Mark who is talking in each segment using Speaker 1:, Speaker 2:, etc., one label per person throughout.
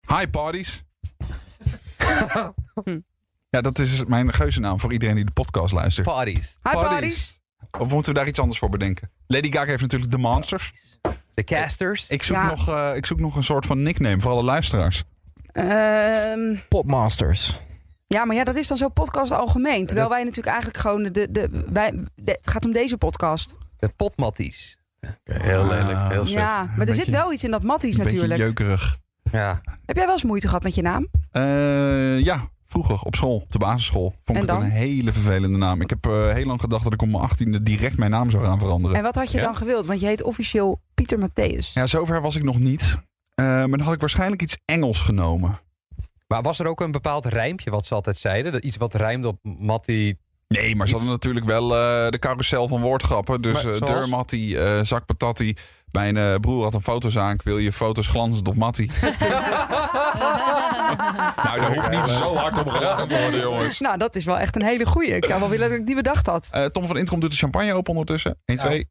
Speaker 1: High parties. ja, dat is mijn geuzennaam voor iedereen die de podcast luistert.
Speaker 2: Parties.
Speaker 3: Hi parties.
Speaker 1: Of moeten we daar iets anders voor bedenken? Lady Gaga heeft natuurlijk The Monsters.
Speaker 2: De casters.
Speaker 1: Ik zoek,
Speaker 3: Ja.
Speaker 1: nog, eh, ik zoek nog een soort van nickname voor alle luisteraars.
Speaker 3: Ehm,
Speaker 4: Popmasters.
Speaker 3: ja, maar ja, dat is dan zo podcast algemeen. Terwijl wij natuurlijk eigenlijk gewoon de, de, wij, de- het gaat om deze podcast.
Speaker 2: De potmatties.
Speaker 5: heel lelijk, heel slecht.
Speaker 3: Ja, maar er
Speaker 1: beetje-
Speaker 3: zit wel iets in dat matties
Speaker 1: Een
Speaker 3: natuurlijk.
Speaker 1: Ah, beetje jeukerig.
Speaker 2: Ja.
Speaker 3: Heb jij wel eens moeite gehad met je naam?
Speaker 1: Eh, ja, vroeger op school, op de basisschool, vond
Speaker 3: En
Speaker 1: ik het
Speaker 3: dan?
Speaker 1: een hele vervelende naam. Ik heb eh, heel lang gedacht dat ik om mijn achttiende direct mijn naam zou gaan veranderen.
Speaker 3: En wat had je dan gewild? Want je heet officieel Pieter Matthäus.
Speaker 1: Ja, zover was ik nog niet. Eh, maar dan had ik waarschijnlijk iets Engels genomen.
Speaker 2: Maar was er ook een bepaald rijmpje wat ze altijd zeiden? Dat iets wat rijmde op Mattie.
Speaker 1: Nee, maar ze hadden natuurlijk wel eh, de carousel van woordgrappen. Dus
Speaker 2: Maar
Speaker 1: eh
Speaker 2: zoals?
Speaker 1: deur Mattie, eh, zak patatti. Mijn eh, broer had een fotozaak. Wil je foto's glanzend op Mattie? nou, daar hoeft niet zo hard op gedaan te worden, jongens.
Speaker 3: Nou, dat is wel echt een hele goeie. Ik zou wel willen dat ik die bedacht had.
Speaker 1: Eh, Tom van Introm doet de champagne open ondertussen. 1, 2.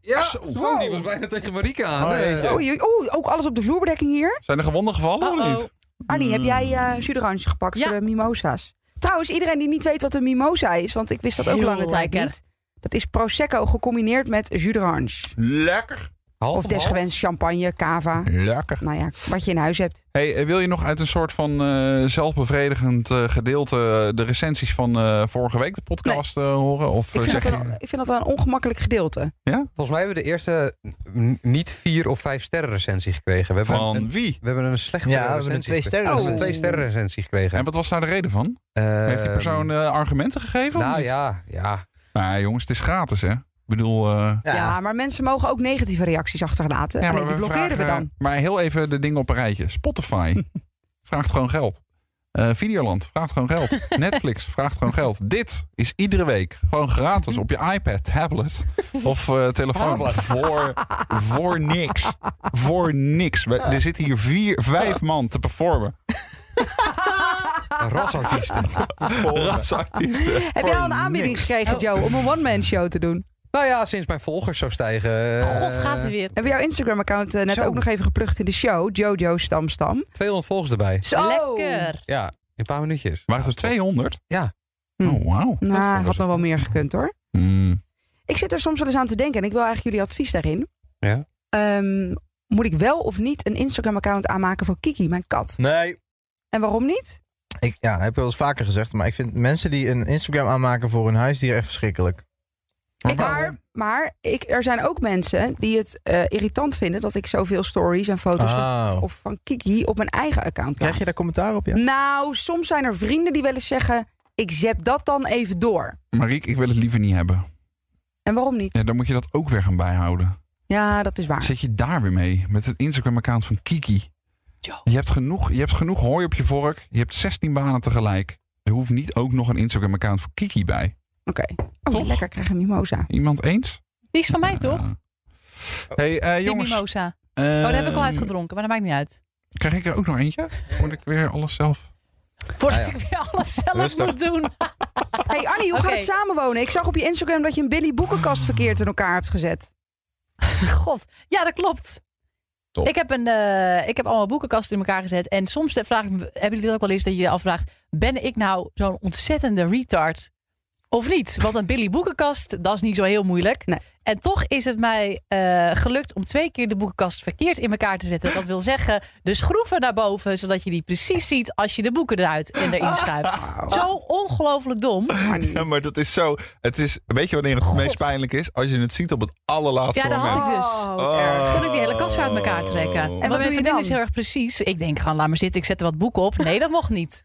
Speaker 2: Ja,
Speaker 1: Zo.
Speaker 2: zo, die was bijna tegen Marika aan.
Speaker 1: Oh,
Speaker 2: Eh,
Speaker 1: jeetje.
Speaker 3: Oei, oei, oei, ook alles op de vloerbedekking hier.
Speaker 1: Zijn er gewonden gevallen of
Speaker 6: Uh-oh.
Speaker 1: niet?
Speaker 3: Arnie, heb jij
Speaker 1: Hmm.
Speaker 3: eh jus d'orange gepakt
Speaker 6: Ja.
Speaker 3: voor de mimosa's? Trouwens, iedereen die niet weet wat een mimosa is, want ik wist dat ook
Speaker 6: Heel
Speaker 3: lange tijd
Speaker 6: lekker.
Speaker 3: niet. Dat is prosecco gecombineerd met jus d'orange.
Speaker 1: Lekker.
Speaker 2: half
Speaker 3: Of
Speaker 2: om half.
Speaker 3: desgewenst champagne, cava.
Speaker 1: Lekker.
Speaker 3: Nou ja, wat je in huis hebt.
Speaker 1: Hey, eh, wil je nog uit een soort van eh, zelfbevredigend eh, gedeelte eh, de recensies van eh, vorige week de podcast eh, horen? Of
Speaker 3: Ik
Speaker 1: eh,
Speaker 3: vind,
Speaker 1: zeg
Speaker 3: dat
Speaker 1: je-
Speaker 3: een, ik vind dat wel een ongemakkelijk gedeelte.
Speaker 2: Volgens mij hebben we de eerste n- niet vier of vijf sterren recensie gekregen. We hebben,
Speaker 1: van
Speaker 2: een,
Speaker 1: wie?
Speaker 2: we hebben een slechte
Speaker 4: Ja, we hebben
Speaker 2: recensie
Speaker 4: een twee
Speaker 2: gekregen.
Speaker 4: sterren.
Speaker 2: We hebben een twee sterren recensie gekregen.
Speaker 1: En wat was daar de reden van? Heeft die
Speaker 2: Ehm,
Speaker 1: persoon eh, argumenten gegeven? of
Speaker 2: Nou
Speaker 1: niet?
Speaker 2: ja, ja.
Speaker 1: Nou, jongens, het is gratis, hè? Ik bedoel... eh,
Speaker 3: Ja. maar mensen mogen ook negatieve reacties achterlaten.
Speaker 1: ja,
Speaker 3: Alleen die blokkeren we
Speaker 1: vragen-
Speaker 3: dan.
Speaker 1: Maar heel even de dingen op een rijtje. Spotify vraagt gewoon geld. Eh, Videoland vraagt gewoon geld. Netflix vraagt gewoon geld. Dit is iedere week gewoon gratis op je iPad, tablet of eh, telefoon. Voor, voor niks. Voor niks. We- er zitten hier vier, vijf man te performen.
Speaker 2: Rasartiesten.
Speaker 1: Rasartiesten.
Speaker 3: Heb jij al een aanbieding
Speaker 1: Oh.
Speaker 3: gekregen, Joe, om een one-man show te doen?
Speaker 2: nou ja, sinds mijn volgers zo stijgen. eh,
Speaker 6: God gaat het weer.
Speaker 3: Hebben we jouw Instagram-account eh, net
Speaker 2: Zo.
Speaker 3: ook nog even geplukt in de show? Jojo Stamstam.
Speaker 2: 200 volgers erbij.
Speaker 3: Zo!
Speaker 6: Lekker.
Speaker 2: Ja, in een paar minuutjes.
Speaker 1: Waren het er 200?
Speaker 2: Ja.
Speaker 1: Oh, wauw.
Speaker 3: Nou,
Speaker 1: Dat
Speaker 3: had
Speaker 1: is-
Speaker 3: nog wel meer gekund hoor.
Speaker 1: Hmm.
Speaker 3: Ik zit er soms wel eens aan te denken en ik wil eigenlijk jullie advies daarin.
Speaker 2: Ja.
Speaker 3: Ehm, moet ik wel of niet een Instagram-account aanmaken voor Kiki, mijn kat?
Speaker 4: Nee.
Speaker 3: En waarom niet?
Speaker 4: Ik ja, heb wel eens vaker gezegd, maar ik vind mensen die een Instagram aanmaken voor hun huisdier echt verschrikkelijk.
Speaker 3: Ik- maar maar ik, er zijn ook mensen die het eh, irritant vinden dat ik zoveel stories en foto's van,
Speaker 4: Oh.
Speaker 3: of van Kiki op mijn eigen account plaats.
Speaker 4: Krijg je daar commentaar op? Ja?
Speaker 3: Nou, soms zijn er vrienden die wel eens zeggen: ik zep dat dan even door.
Speaker 1: Mariek, ik wil het liever niet hebben.
Speaker 3: En waarom niet?
Speaker 1: Ja, dan moet je dat ook weer gaan bijhouden.
Speaker 3: Ja, dat
Speaker 6: Ah.
Speaker 3: is waar.
Speaker 1: Zit je daar weer mee met het Instagram-account van Kiki? Je hebt, genoeg, je hebt genoeg hooi op je vork. Je hebt 16 banen tegelijk. Er hoeft niet ook nog een Instagram-account voor Kiki bij.
Speaker 3: Oké.
Speaker 1: Toch?
Speaker 3: Oh, lekker krijg een mimosa.
Speaker 1: Iemand eens?
Speaker 6: Die is van mij toch?
Speaker 1: Ja. Hey, eh,
Speaker 6: Die
Speaker 1: jongens.
Speaker 6: mimosa.
Speaker 1: ehm,
Speaker 6: Oh, daar heb ik
Speaker 2: eh,
Speaker 6: al uitgedronken, maar dat maakt niet uit.
Speaker 1: Krijg ik er ook nog eentje? Moet ik weer alles zelf?
Speaker 6: Voordat
Speaker 2: Ah, ja.
Speaker 6: ik weer alles zelf
Speaker 4: Rustig.
Speaker 6: moet doen.
Speaker 3: Hey Annie, hoe
Speaker 6: Oké.
Speaker 3: gaat het samenwonen? Ik zag op je Instagram dat je een Billy boekenkast verkeerd in elkaar hebt gezet.
Speaker 6: God, ja, dat klopt.
Speaker 1: Top.
Speaker 6: Ik heb, een, eh, ik heb allemaal boekenkasten in elkaar gezet. En soms eh, vraag ik me, hebben jullie dat ook wel eens dat je je afvraagt... ben ik nou zo'n ontzettende retard of niet? Want een Billy boekenkast, dat is niet zo heel moeilijk.
Speaker 3: Nee.
Speaker 6: En toch is het mij eh, gelukt om twee keer de boekenkast verkeerd in elkaar te zetten. Dat wil zeggen, de schroeven naar boven... zodat je die precies ziet als je de boeken eruit en erin schuift. Zo ongelooflijk dom.
Speaker 3: Oh, Annie.
Speaker 1: Ja, maar dat is zo. Het is, weet je wanneer het
Speaker 6: God.
Speaker 1: meest pijnlijk is? Als je het ziet op het allerlaatste
Speaker 6: Ja, dat had
Speaker 1: moment.
Speaker 6: ik dus.
Speaker 3: Oh, wat erg.
Speaker 6: Kon ik die hele kast weer uit elkaar trekken. En
Speaker 3: wat
Speaker 6: mijn
Speaker 3: doe je
Speaker 6: vriendin
Speaker 3: dan?
Speaker 6: is heel erg precies. Ik denk gewoon, laat maar zitten, ik zet er wat boeken op. Nee, dat mocht niet.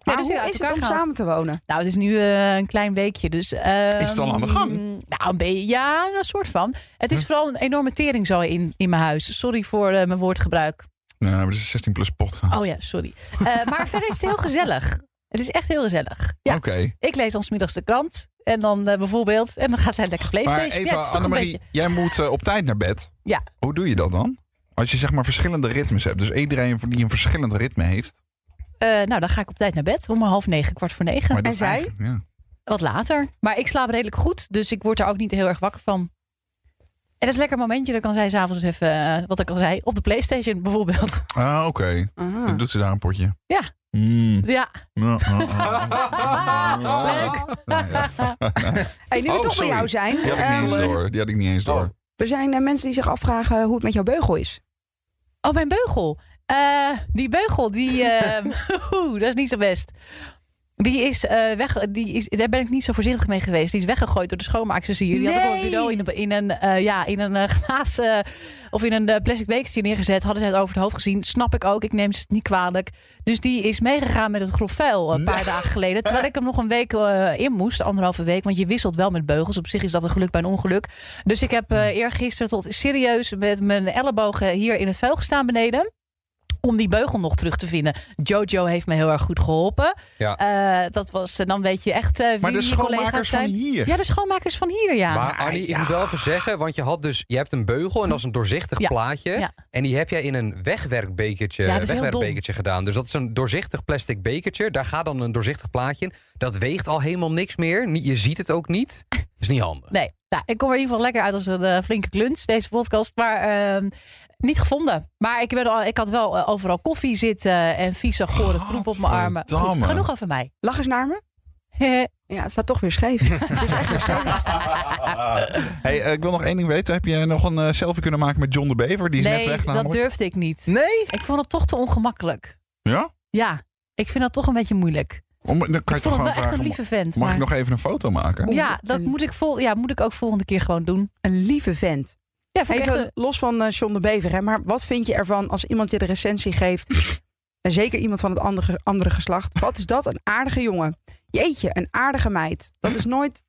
Speaker 3: Maar
Speaker 6: dus
Speaker 3: hoe is
Speaker 6: uit
Speaker 3: het
Speaker 6: elkaar
Speaker 3: om
Speaker 6: gehaald.
Speaker 3: samen te wonen?
Speaker 6: Nou, het is nu eh, een klein weekje, dus... ehm,
Speaker 1: Is het al aan de gang?
Speaker 6: Nou, een beetje, ja, een soort van. Het is vooral een enorme tering zo in, in mijn huis. Sorry voor eh, mijn woordgebruik.
Speaker 1: Nee, maar dat is een 16 plus podcast.
Speaker 6: Oh ja, sorry. Eh, maar verder is het heel gezellig. Het is echt heel gezellig. Ja,
Speaker 1: Oké.
Speaker 6: ik lees dan 's middags de krant. En dan eh, bijvoorbeeld, en dan gaat zij lekker
Speaker 1: Maar
Speaker 6: Playstation. ja,
Speaker 1: even,
Speaker 6: het is toch een
Speaker 1: Annemarie,
Speaker 6: beetje-
Speaker 1: jij moet eh, op tijd naar bed.
Speaker 6: Ja.
Speaker 1: Hoe doe je dat dan? Als je zeg maar verschillende ritmes hebt. Dus iedereen die een verschillend ritme heeft.
Speaker 6: Eh, nou, dan ga ik op tijd naar bed. Om half negen, kwart voor negen.
Speaker 1: Maar dat
Speaker 3: En
Speaker 1: is
Speaker 3: zij?
Speaker 1: eigenlijk- Ja.
Speaker 6: Wat later. Maar ik slaap redelijk goed, dus ik word daar ook niet heel erg wakker van. dat is lekker een momentje. Dan kan zij s'avonds even, eh, wat ik al zei, op de Playstation bijvoorbeeld.
Speaker 1: Ah, oké.
Speaker 3: Aha.
Speaker 1: Dan doet ze daar een potje.
Speaker 6: Ja.
Speaker 1: Mm.
Speaker 6: Ja.
Speaker 1: Ja, ja, ja.
Speaker 6: Leuk.
Speaker 1: Nou ja.
Speaker 3: Hey, nu we
Speaker 1: Oh,
Speaker 3: toch
Speaker 1: sorry.
Speaker 3: bij jou zijn.
Speaker 1: Die had ik
Speaker 3: eh,
Speaker 1: niet eens door. Die had ik niet eens door.
Speaker 3: er zijn eh, mensen die zich afvragen hoe het met jouw beugel is.
Speaker 6: Oh, mijn beugel. Eh, die beugel, die. ehm, oeh, dat is niet zo best. Die is eh, weg. Die is, daar ben ik niet zo voorzichtig mee geweest. Die is weggegooid door de schoonmaakster. Zie je. Die had ik op het
Speaker 3: Nee.
Speaker 6: bureau in een, in een, eh, ja, in een eh, glazen. of in een eh, plastic bekertje neergezet. Hadden zij het over het hoofd gezien. Snap ik ook. Ik neem ze het niet kwalijk. Dus die is meegegaan met het grof vuil een paar dagen geleden. Terwijl ik hem nog een week eh, in moest. Anderhalve week. Want je wisselt wel met beugels. Op zich is dat een geluk bij een ongeluk. Dus ik heb eh eergisteren tot serieus met mijn ellebogen hier in het vuil gestaan beneden. Om die beugel nog terug te vinden. Jojo heeft me heel erg goed geholpen.
Speaker 2: Ja.
Speaker 6: Eh, dat was, eh, dan weet je echt eh, wie
Speaker 1: Maar de
Speaker 6: die collega's
Speaker 1: schoonmakers van
Speaker 6: zijn.
Speaker 1: hier.
Speaker 6: Ja, de schoonmakers van hier, ja.
Speaker 2: Maar Annie, ik moet wel even zeggen, want je had dus, je hebt een beugel en dat is een doorzichtig
Speaker 6: Ja,
Speaker 2: plaatje.
Speaker 6: ja.
Speaker 2: En die heb jij in een wegwerkbekertje,
Speaker 6: Ja, dat is heel
Speaker 2: wegwerkbekertje gedaan. Dus dat is een doorzichtig plastic bekertje. Daar gaat dan een doorzichtig plaatje in. Dat weegt al helemaal niks meer. Niet- Je ziet het ook niet. Dat is niet handig.
Speaker 6: Nee, nou, ik kom er in ieder geval lekker uit als een eh, flinke kluns, deze podcast. Maar ehm, niet gevonden. Maar ik, ben al, ik had wel eh, overal koffie zitten en vieze gore troep op mijn armen. Goed,
Speaker 1: Gadverdamme.
Speaker 6: genoeg over mij.
Speaker 3: Lach eens naar me. Ja, het staat toch weer scheef. Het is echt weer scheef.
Speaker 1: Hey, eh, ik wil nog één ding weten. Heb je nog een eh, selfie kunnen maken met John de Bever? Die is net
Speaker 6: nee,
Speaker 1: weg
Speaker 6: dat
Speaker 1: namelijk.
Speaker 6: durfde ik niet.
Speaker 4: Nee?
Speaker 6: Ik vond het toch te ongemakkelijk.
Speaker 1: Ja?
Speaker 6: Ja, ik vind dat toch een beetje moeilijk.
Speaker 1: Om, dan kan
Speaker 6: ik
Speaker 1: je toch
Speaker 6: vond het
Speaker 1: gewoon
Speaker 6: wel echt
Speaker 1: vragen.
Speaker 6: een lieve vent.
Speaker 1: Mag
Speaker 6: maar...
Speaker 1: ik nog even een foto maken?
Speaker 6: Ja, dat moet ik, vol... ja, moet ik ook volgende keer gewoon doen.
Speaker 3: Een lieve vent.
Speaker 6: Ja, vond ik echt
Speaker 3: Even
Speaker 6: een-
Speaker 3: los van eh John de Bever, hè, maar wat vind je ervan als iemand je de recensie geeft? en zeker iemand van het andere, andere geslacht. Wat is dat? Een aardige jongen. Jeetje, een aardige meid. Dat is nooit.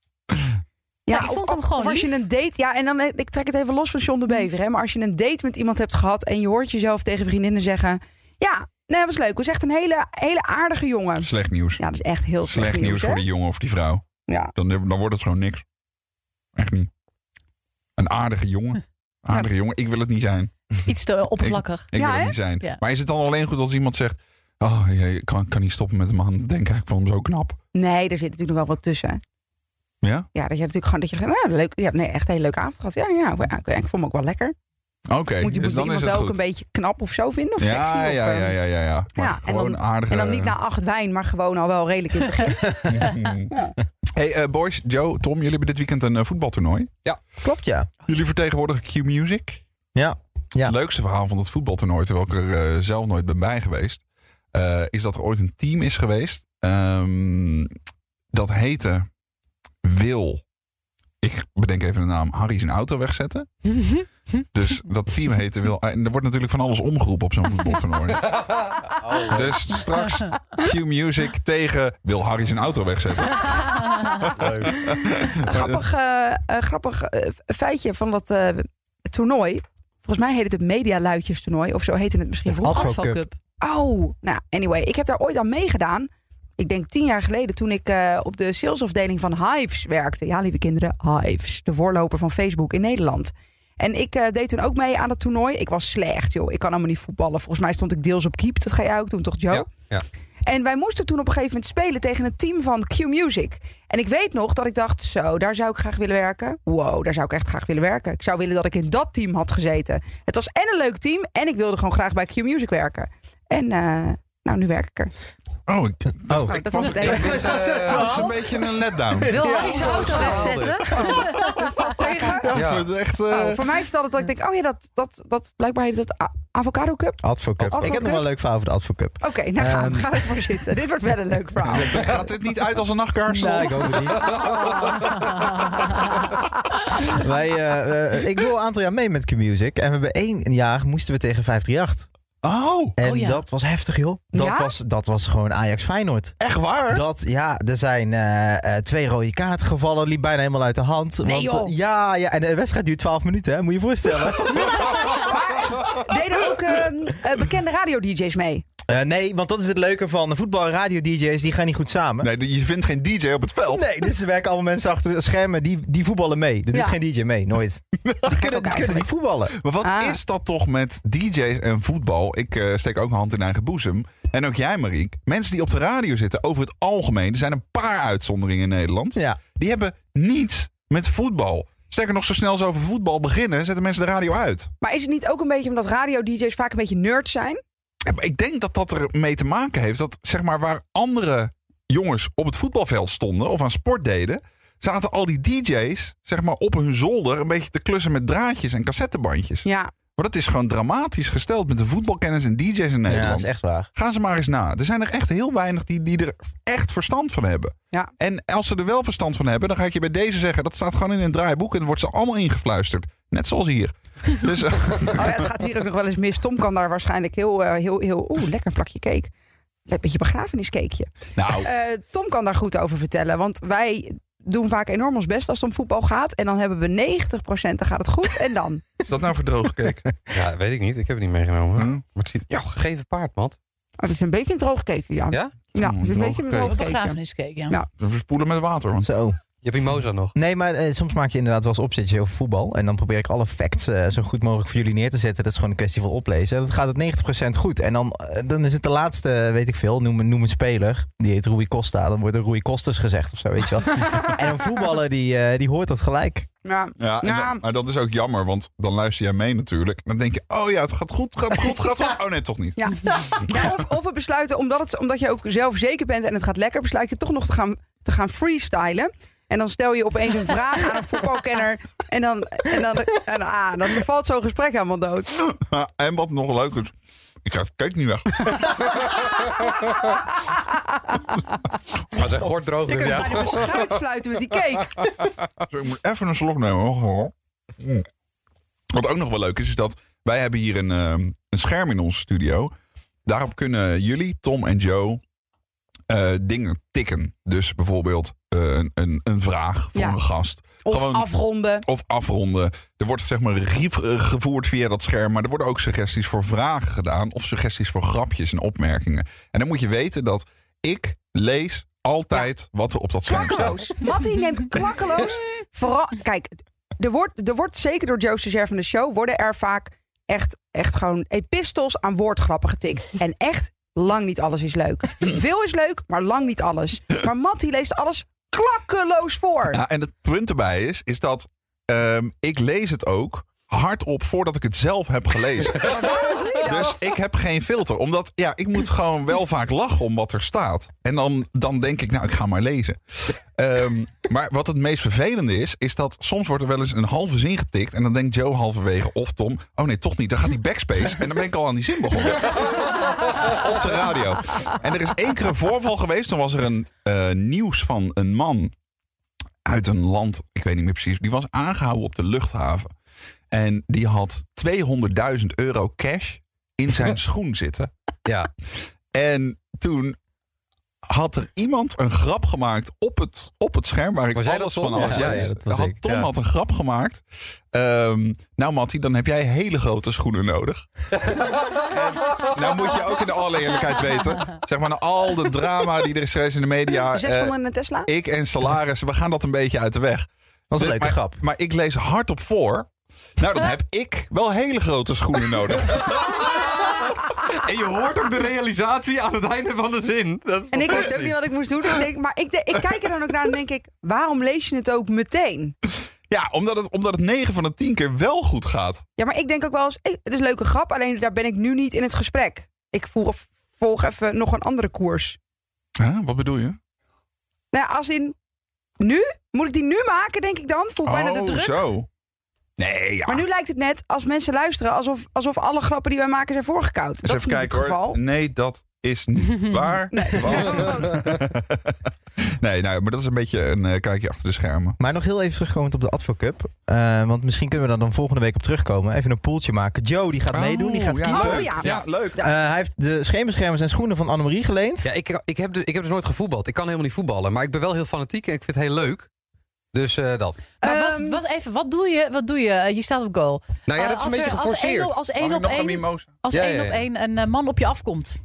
Speaker 6: Ja, ik vond hem gewoon
Speaker 3: Of als je
Speaker 6: lief.
Speaker 3: een date. Ja, en dan. eh, Ik trek het even los van John de Bever, hè, maar als je een date met iemand hebt gehad. en je hoort jezelf tegen vriendinnen zeggen. Ja, nee, was leuk. Was echt een hele, hele aardige jongen.
Speaker 1: Slecht nieuws.
Speaker 3: Ja, dat is echt heel
Speaker 1: Slecht, nieuws,
Speaker 3: hè?
Speaker 1: voor die jongen of die vrouw.
Speaker 3: Ja.
Speaker 1: Dan, dan wordt het gewoon niks. Echt niet. Een aardige jongen. Aardige jongen. Ik wil het niet zijn.
Speaker 6: iets te oppervlakkig.
Speaker 1: Ik
Speaker 3: Ja,
Speaker 1: wil het
Speaker 3: hè?
Speaker 1: niet zijn.
Speaker 6: Ja.
Speaker 1: Maar is het dan alleen goed als iemand zegt... Oh, ja, ik kan, kan niet stoppen met hem aan. Denk ik van hem zo knap.
Speaker 3: Nee, er zit natuurlijk nog wel wat tussen.
Speaker 1: Ja?
Speaker 3: Ja, dat je natuurlijk gewoon dat je nou, leuk, ja, nee, echt een hele leuke avond gehad. Ja, ja, ja, ik, ik vond me ook wel lekker.
Speaker 1: Oké,
Speaker 3: moet je
Speaker 1: dus
Speaker 3: moet
Speaker 1: dan is
Speaker 3: iemand
Speaker 1: het
Speaker 3: ook
Speaker 1: goed.
Speaker 3: een beetje knap of zo vinden of sexy
Speaker 1: ja,
Speaker 3: of,
Speaker 1: ja,
Speaker 3: ehm,
Speaker 1: ja, ja, ja, ja. Maar
Speaker 3: ja, en
Speaker 1: gewoon
Speaker 3: dan-
Speaker 1: aardige...
Speaker 3: En dan niet na acht wijn, maar gewoon al wel redelijk in het begin.
Speaker 1: hey eh, boys, Joe, Tom, jullie hebben dit weekend een eh, voetbaltoernooi.
Speaker 4: Klopt, ja.
Speaker 1: Jullie vertegenwoordigen Q-Music.
Speaker 4: Ja, ja.
Speaker 1: Het leukste verhaal van dat voetbaltoernooi, terwijl ik er eh, zelf nooit ben bij geweest, eh, is dat er ooit een team is geweest. ehm, dat heette Wil. Ik bedenk even de naam Harry zijn auto wegzetten. Dus dat team heette Wil. Eh, En er wordt natuurlijk van alles omgeroepen op zo'n voetbaltoernooi. Dus straks Q-Music tegen Wil Harry zijn auto wegzetten.
Speaker 2: Leuk.
Speaker 3: grappig eh, eh, grappig eh, feitje van dat eh, toernooi. Volgens mij heet het het Medialuidjes toernooi. Of zo heette het misschien vroeger.
Speaker 6: Advo Cup.
Speaker 3: Oh, nou anyway, ik heb daar ooit aan meegedaan. Ik denk tien jaar geleden toen ik eh, op de salesafdeling van Hives werkte. Ja, lieve kinderen, Hives, de voorloper van Facebook in Nederland. En ik eh, deed toen ook mee aan dat toernooi. Ik was slecht, joh. Ik kan allemaal niet voetballen. Volgens mij stond ik deels op keep. Dat ga jij ook doen, toch, Joe?
Speaker 2: Ja, ja.
Speaker 3: En wij moesten toen op een gegeven moment spelen tegen het team van Q Music. En ik weet nog dat ik dacht, zo, daar zou ik graag willen werken. Wow, daar zou ik echt graag willen werken. Ik zou willen dat ik in dat team had gezeten. Het was en een leuk team en ik wilde gewoon graag bij Q Music werken. En eh, nou, nu werk ik er.
Speaker 1: Oh, ik dacht,
Speaker 4: Oh.
Speaker 1: ik
Speaker 3: Dat
Speaker 1: was,
Speaker 3: was het enige.
Speaker 1: ik- dit is, eh, dat is een beetje een letdown.
Speaker 6: Wil hij zijn auto wegzetten?
Speaker 3: Oh, tegen.
Speaker 1: Ja,
Speaker 2: Ja.
Speaker 1: ik vind het echt... eh,
Speaker 4: Nou,
Speaker 3: Oh, voor mij is het altijd dat ik denk, oh ja, dat, dat, dat blijkbaar heet dat a- avocado cup.
Speaker 4: Advocup.
Speaker 3: Advo
Speaker 4: Ik heb nog wel een leuk verhaal over de Advocup.
Speaker 3: Oké, nou ga,
Speaker 4: Ehm.
Speaker 3: ga ervoor zitten. Dit wordt wel een leuk verhaal.
Speaker 1: Gaat dit niet uit als een nachtkaars?
Speaker 4: Nee, ik hoop het niet. Wij, eh, eh, ik wil een aantal jaar mee met Q-Music. En we hebben één jaar moesten we tegen 538.
Speaker 1: Oh,
Speaker 4: En
Speaker 6: Oh ja.
Speaker 4: dat was heftig, joh. Dat,
Speaker 3: Ja?
Speaker 4: was, dat was gewoon Ajax Feyenoord.
Speaker 1: echt waar?
Speaker 4: Dat, ja, er zijn eh, eh, twee rode kaarten gevallen. Liep bijna helemaal uit de hand. want,
Speaker 6: joh.
Speaker 4: eh, Ja, ja, en de wedstrijd duurt 12 minuten, hè? Moet je je voorstellen.
Speaker 3: Deden ook ehm, eh, bekende radio-dj's mee.
Speaker 4: Eh, nee, want dat is het leuke van voetbal en radio-dj's. Die gaan niet goed samen.
Speaker 1: Nee, je vindt geen DJ op het veld.
Speaker 4: Nee, dus er werken allemaal mensen achter de schermen. Die, die voetballen mee. Er doet
Speaker 3: Ja.
Speaker 4: geen DJ mee, nooit. Die kunnen, die kunnen niet voetballen.
Speaker 1: Maar wat
Speaker 3: Ah.
Speaker 1: is dat toch met DJ's en voetbal? Ik eh, steek ook een hand in eigen boezem. En ook jij, Mariek. Mensen die op de radio zitten, over het algemeen, er zijn een paar uitzonderingen in Nederland.
Speaker 4: Ja.
Speaker 1: Die hebben niets met voetbal. Sterker nog, zo snel ze over voetbal beginnen, zetten mensen de radio uit.
Speaker 3: Maar is het niet ook een beetje omdat radio-dj's vaak een beetje nerds zijn?
Speaker 1: Ja, maar Ik denk dat dat er mee te maken heeft dat zeg maar waar andere jongens op het voetbalveld stonden of aan sport deden, zaten al die DJ's zeg maar op hun zolder een beetje te klussen met draadjes en cassettebandjes.
Speaker 3: Ja.
Speaker 1: Maar dat is gewoon dramatisch gesteld met de voetbalkennis en DJ's in
Speaker 4: Ja, dat
Speaker 1: Nederland.
Speaker 4: is echt waar.
Speaker 1: Ga ze maar eens na. Er zijn er echt heel weinig die, die er echt verstand van hebben.
Speaker 3: Ja.
Speaker 1: En als ze er wel verstand van hebben, dan ga ik je bij deze zeggen: dat staat gewoon in een draaiboek en dan wordt ze allemaal ingefluisterd. Net zoals hier. Dus eh,
Speaker 3: Oh ja, het gaat hier ook nog wel eens mis. Tom kan daar waarschijnlijk heel, eh, heel, heel oeh, lekker een plakje cake. Een beetje begrafeniscakeje.
Speaker 1: nou,
Speaker 3: Eh, Tom kan daar goed over vertellen. Want wij doen vaak enorm ons best als het om voetbal gaat. En dan hebben we 90%, dan gaat het goed. En dan?
Speaker 1: dat nou verdroog gekeken.
Speaker 2: Ja, weet ik niet. Ik heb het niet meegenomen.
Speaker 1: Hm?
Speaker 2: Maar het ziet... Ja, gegeven paard, man.
Speaker 3: Oh, het is een beetje een droog cakeje, ja.
Speaker 2: Ja?
Speaker 3: Ja, het is een beetje een
Speaker 1: Droog
Speaker 3: droog
Speaker 1: cake.
Speaker 3: cakeje.
Speaker 6: Begrafeniscake, ja.
Speaker 3: Ja.
Speaker 1: We verspoelen met water. Want
Speaker 4: Zo.
Speaker 2: Je hebt die moza nog.
Speaker 4: Nee, maar eh, soms maak je inderdaad wel eens opzetjes over voetbal. En dan probeer ik alle facts eh, zo goed mogelijk voor jullie neer te zetten. Dat is gewoon een kwestie van oplezen. En dan gaat het 90% goed. En dan, eh, dan is het de laatste, weet ik veel, noem, een- noem een speler. Die heet Rui Costa. Dan wordt er Rui Costas gezegd of zo, weet je wel. en een voetballer, die, eh, die hoort dat gelijk.
Speaker 3: Ja.
Speaker 1: Ja, en
Speaker 3: Ja.
Speaker 1: dan- maar dat is ook jammer, want dan luister jij mee natuurlijk. Dan denk je, oh ja, het gaat goed, gaat goed, gaat goed. Oh nee, toch niet.
Speaker 3: Ja. Ja, of, of we besluiten, omdat, het, omdat je ook zelf zeker bent en het gaat lekker, besluit je toch nog te gaan, te gaan freestylen. En dan stel je opeens een vraag aan een voetbalkenner. En dan, en dan, en, ah, dan valt zo'n gesprek helemaal dood.
Speaker 1: Ja, En wat nog leuk is, ik ga het kijk niet weg.
Speaker 2: Maar zijn gort droog. dus
Speaker 3: Je kunt
Speaker 2: ja.
Speaker 3: bijna beschuit fluiten met die cake.
Speaker 1: Dus ik moet even een slok nemen. hoor. Mm. Wat ook nog wel leuk is, is dat wij hebben hier een, ehm, een scherm in onze studio. Daarop kunnen jullie, Tom en Joe, eh, dingen tikken. Dus bijvoorbeeld eh, een, een, een vraag voor
Speaker 3: Ja.
Speaker 1: een gast.
Speaker 3: Of
Speaker 1: Gewoon-
Speaker 3: afronden.
Speaker 1: Of afronden. Er wordt zeg maar regie eh, gevoerd via dat scherm. Maar er worden ook suggesties voor vragen gedaan. Of suggesties voor grapjes en opmerkingen. En dan moet je weten dat ik lees altijd wat er op dat scherm staat.
Speaker 3: Klakkeloos. Mattie neemt klakkeloos. Vooral, kijk, er wordt, er wordt zeker door Joe Stagiair van de show... worden er vaak echt, echt gewoon epistels aan woordgrappen getikt. En echt, lang niet alles is leuk. Veel is leuk, maar lang niet alles. Maar Mattie leest alles klakkeloos voor.
Speaker 1: Ja, en het punt erbij is, is dat ehm, ik lees het ook hardop voordat ik het zelf heb gelezen. Dus ik heb geen filter. Omdat ja, ik moet gewoon wel vaak lachen om wat er staat. En dan, dan denk ik, nou, ik ga maar lezen. Ehm, maar wat het meest vervelende is, is dat soms wordt er wel eens een halve zin getikt. En dan denkt Joe halverwege of Tom, oh nee, toch niet. Dan gaat die backspace. En dan ben ik al aan die zin begonnen. Op de radio. En er is één keer een voorval geweest. Toen was er een eh, nieuws van een man uit een land, ik weet niet meer precies. Die was aangehouden op de luchthaven. En die had 200.000 euro cash in zijn schoen zitten.
Speaker 2: Ja.
Speaker 1: En toen had er iemand een grap gemaakt op het, op het scherm waar ik
Speaker 2: Was jij dat,
Speaker 1: alles
Speaker 2: Tom?
Speaker 1: van
Speaker 2: Ja,
Speaker 1: af
Speaker 2: ja,
Speaker 1: lees.
Speaker 4: ja, dat was
Speaker 1: had,
Speaker 4: ik,
Speaker 1: Tom
Speaker 2: ja.
Speaker 1: had een grap gemaakt. Ehm, nou Mattie, dan heb jij hele grote schoenen nodig. en, nou moet je ook in de alle eerlijkheid weten. Zeg maar na al de drama die er is geweest in de media.
Speaker 3: Zes
Speaker 1: eh,
Speaker 3: ton in een Tesla.
Speaker 1: ik en Salaris, we gaan dat een beetje uit de weg.
Speaker 4: Dat is een
Speaker 1: Dus-
Speaker 4: leuke
Speaker 1: maar,
Speaker 4: grap.
Speaker 1: Maar ik lees hardop voor. Nou, dan heb ik wel hele grote schoenen nodig.
Speaker 2: En je hoort ook de realisatie aan het einde van de zin. Dat is
Speaker 3: En ik wist ook
Speaker 2: fantastisch.
Speaker 3: niet wat ik moest doen. Ik denk, maar ik, de- ik kijk er dan ook naar en denk ik... waarom lees je het ook meteen?
Speaker 1: Ja, omdat het, omdat het 9 van de 10 keer wel goed gaat.
Speaker 3: Ja, maar ik denk ook wel eens, hey, het is een leuke grap, alleen daar ben ik nu niet in het gesprek. Ik voer, volg even nog een andere koers.
Speaker 1: Wat bedoel je?
Speaker 3: Nou ja, als in, nu? Moet ik die nu maken, denk ik dan? Voel ik bijna de druk.
Speaker 1: Oh, zo. Nee, ja.
Speaker 3: Maar nu lijkt het net, als mensen luisteren, alsof, alsof alle grappen die wij maken zijn voorgekoud.
Speaker 1: Eens
Speaker 3: dat is
Speaker 1: even
Speaker 3: niet
Speaker 1: kijken
Speaker 3: het geval.
Speaker 1: hoor. Nee, dat is niet waar.
Speaker 3: Nee.
Speaker 1: Want- nee, nou, maar dat is een beetje een eh, kijkje achter de schermen.
Speaker 4: Maar nog heel even terugkomend op de Advo Cup. Eh, want misschien kunnen we daar dan volgende week op terugkomen. Even een poeltje maken. Joe, die gaat meedoen. Die gaat
Speaker 1: ja,
Speaker 4: keepen.
Speaker 3: Oh,
Speaker 1: leuk.
Speaker 3: ja.
Speaker 1: ja, leuk.
Speaker 4: Eh, hij heeft de schemerschermers en schoenen van Annemarie geleend.
Speaker 2: Ja, ik, ik, heb dus, ik heb dus nooit gevoetbald. Ik kan helemaal niet voetballen. Maar ik ben wel heel fanatiek en ik vind het heel leuk. Dus eh, dat.
Speaker 6: Maar
Speaker 3: Ehm,
Speaker 6: wat, wat, even, wat doe je? Wat doe je? Eh, je staat op goal.
Speaker 2: Nou
Speaker 1: Ah,
Speaker 2: ja, dat is
Speaker 6: Eh,
Speaker 2: een beetje
Speaker 6: er-
Speaker 2: geforceerd.
Speaker 6: Als
Speaker 1: Mag
Speaker 6: één
Speaker 1: ik
Speaker 6: op
Speaker 1: nog een
Speaker 6: één
Speaker 1: mimosa?
Speaker 6: als
Speaker 2: Ja,
Speaker 6: één
Speaker 2: ja,
Speaker 6: op
Speaker 2: ja.
Speaker 6: één een eh, man op je afkomt.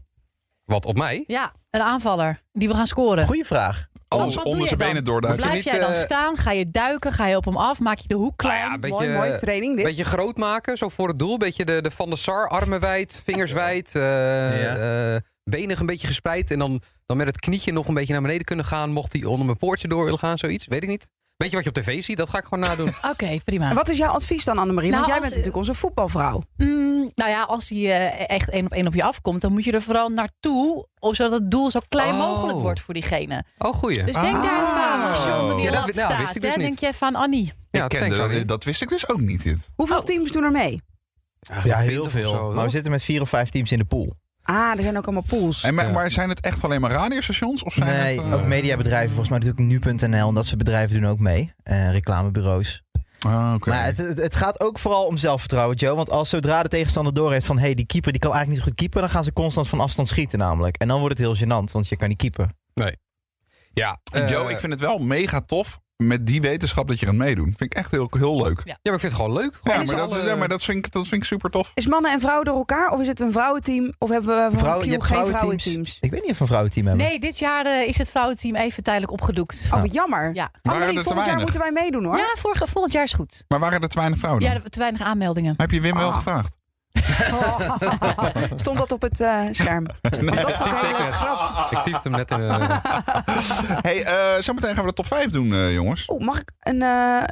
Speaker 2: Wat op mij?
Speaker 6: Ja, een aanvaller die we gaan scoren.
Speaker 4: Goeie vraag.
Speaker 6: wat
Speaker 1: Alles
Speaker 6: doe
Speaker 1: onder
Speaker 6: je
Speaker 1: zijn
Speaker 6: dan?
Speaker 1: benen doorduiken.
Speaker 2: je
Speaker 6: Blijf
Speaker 2: niet,
Speaker 6: jij dan
Speaker 2: eh,
Speaker 6: staan? Ga je duiken? Ga je op hem af? Maak je de hoek klein?
Speaker 2: Nou ja, een
Speaker 3: Mooi,
Speaker 2: beetje,
Speaker 3: mooie training dit.
Speaker 2: beetje groot maken, zo voor het doel. Beetje de, de Van der Sar, armen wijd, vingers wijd. eh eh, benig een beetje gespreid. En dan, dan met het knietje nog een beetje naar beneden kunnen gaan. Mocht hij onder mijn poortje door willen gaan, zoiets. Weet ik niet. Weet je wat je op tv ziet? Dat ga ik gewoon nadoen.
Speaker 6: Oké, prima.
Speaker 3: En wat is jouw advies dan, Annemarie? Want
Speaker 6: Nou,
Speaker 3: jij
Speaker 6: als-
Speaker 3: bent natuurlijk onze voetbalvrouw.
Speaker 6: Mm, nou ja, als hij eh, echt één op één op je afkomt, dan moet je er vooral naartoe, of zodat het doel zo klein
Speaker 2: Oh.
Speaker 6: mogelijk wordt voor diegene.
Speaker 2: Oh, goeie.
Speaker 6: Dus denk
Speaker 3: Ah.
Speaker 6: daar even aan als je onder die
Speaker 2: Ja, dat
Speaker 6: lat
Speaker 2: wi- nou, wist
Speaker 6: staat.
Speaker 2: ik dus
Speaker 6: hè.
Speaker 2: niet.
Speaker 6: denk je even aan Annie.
Speaker 2: ja,
Speaker 1: ik kende,
Speaker 2: thanks, Annie.
Speaker 1: dat, dat wist ik dus ook niet. Dit.
Speaker 3: Hoeveel
Speaker 6: Oh.
Speaker 3: teams doen er mee?
Speaker 4: Ja,
Speaker 2: 20
Speaker 4: heel
Speaker 2: of
Speaker 4: veel.
Speaker 2: zo, Nou, toch?
Speaker 4: maar we zitten met vier of vijf teams in de pool.
Speaker 3: Ah, er zijn ook allemaal pools.
Speaker 1: En, maar,
Speaker 2: Ja.
Speaker 1: maar zijn het echt alleen maar radiostations? Of zijn
Speaker 4: Nee,
Speaker 1: het, eh,
Speaker 4: ook mediabedrijven. Volgens mij natuurlijk nu.nl en dat soort bedrijven doen ook mee. Eh, reclamebureaus.
Speaker 1: Ah, oké.
Speaker 4: Maar het, het, het gaat ook vooral om zelfvertrouwen, Joe. Want als zodra de tegenstander doorheeft van... hé, hey, die keeper die kan eigenlijk niet zo goed keeper... dan gaan ze constant van afstand schieten namelijk. En dan wordt het heel gênant, want je kan niet keeper.
Speaker 2: Ja,
Speaker 1: En
Speaker 2: eh,
Speaker 1: Joe, ik vind het wel mega tof met die wetenschap dat je gaat meedoen. Vind ik echt heel, heel leuk.
Speaker 2: ja, maar ik vind het gewoon leuk.
Speaker 1: Ja,
Speaker 2: Gewoon met
Speaker 1: maar,
Speaker 2: z'n
Speaker 1: dat,
Speaker 2: allen-
Speaker 3: eh,
Speaker 1: ja, maar dat, vind ik, dat vind ik super tof.
Speaker 3: Is mannen en vrouwen door elkaar? Of is het een vrouwenteam? Of hebben we van
Speaker 4: Vrouwen-
Speaker 3: Q
Speaker 4: je hebt
Speaker 3: geen
Speaker 4: vrouwenteams.
Speaker 3: vrouwenteams?
Speaker 4: Ik weet niet of we een vrouwenteam hebben.
Speaker 6: Nee, dit jaar eh, is het vrouwenteam even tijdelijk opgedoekt.
Speaker 3: Oh, wat jammer.
Speaker 6: Ja.
Speaker 1: Waren er
Speaker 3: Annemarie,
Speaker 1: te
Speaker 3: volgend jaar
Speaker 1: weinig?
Speaker 3: moeten wij meedoen hoor.
Speaker 6: Ja, vorige, volgend jaar is goed.
Speaker 2: Oh,
Speaker 1: Maar waren er te weinig vrouwen dan?
Speaker 6: Ja, te weinig aanmeldingen.
Speaker 1: Heb je Wim wel
Speaker 3: Ah.
Speaker 1: gevraagd?
Speaker 2: Oh,
Speaker 3: Stond dat op het eh, scherm? Want dat vond ik een
Speaker 2: Tik
Speaker 3: hele
Speaker 2: het.
Speaker 3: grap.
Speaker 2: Ik typte hem net in. eh,
Speaker 1: hey, eh, zometeen gaan we de top 5 doen, eh, jongens.
Speaker 3: Oeh, Oh, mag ik een, eh,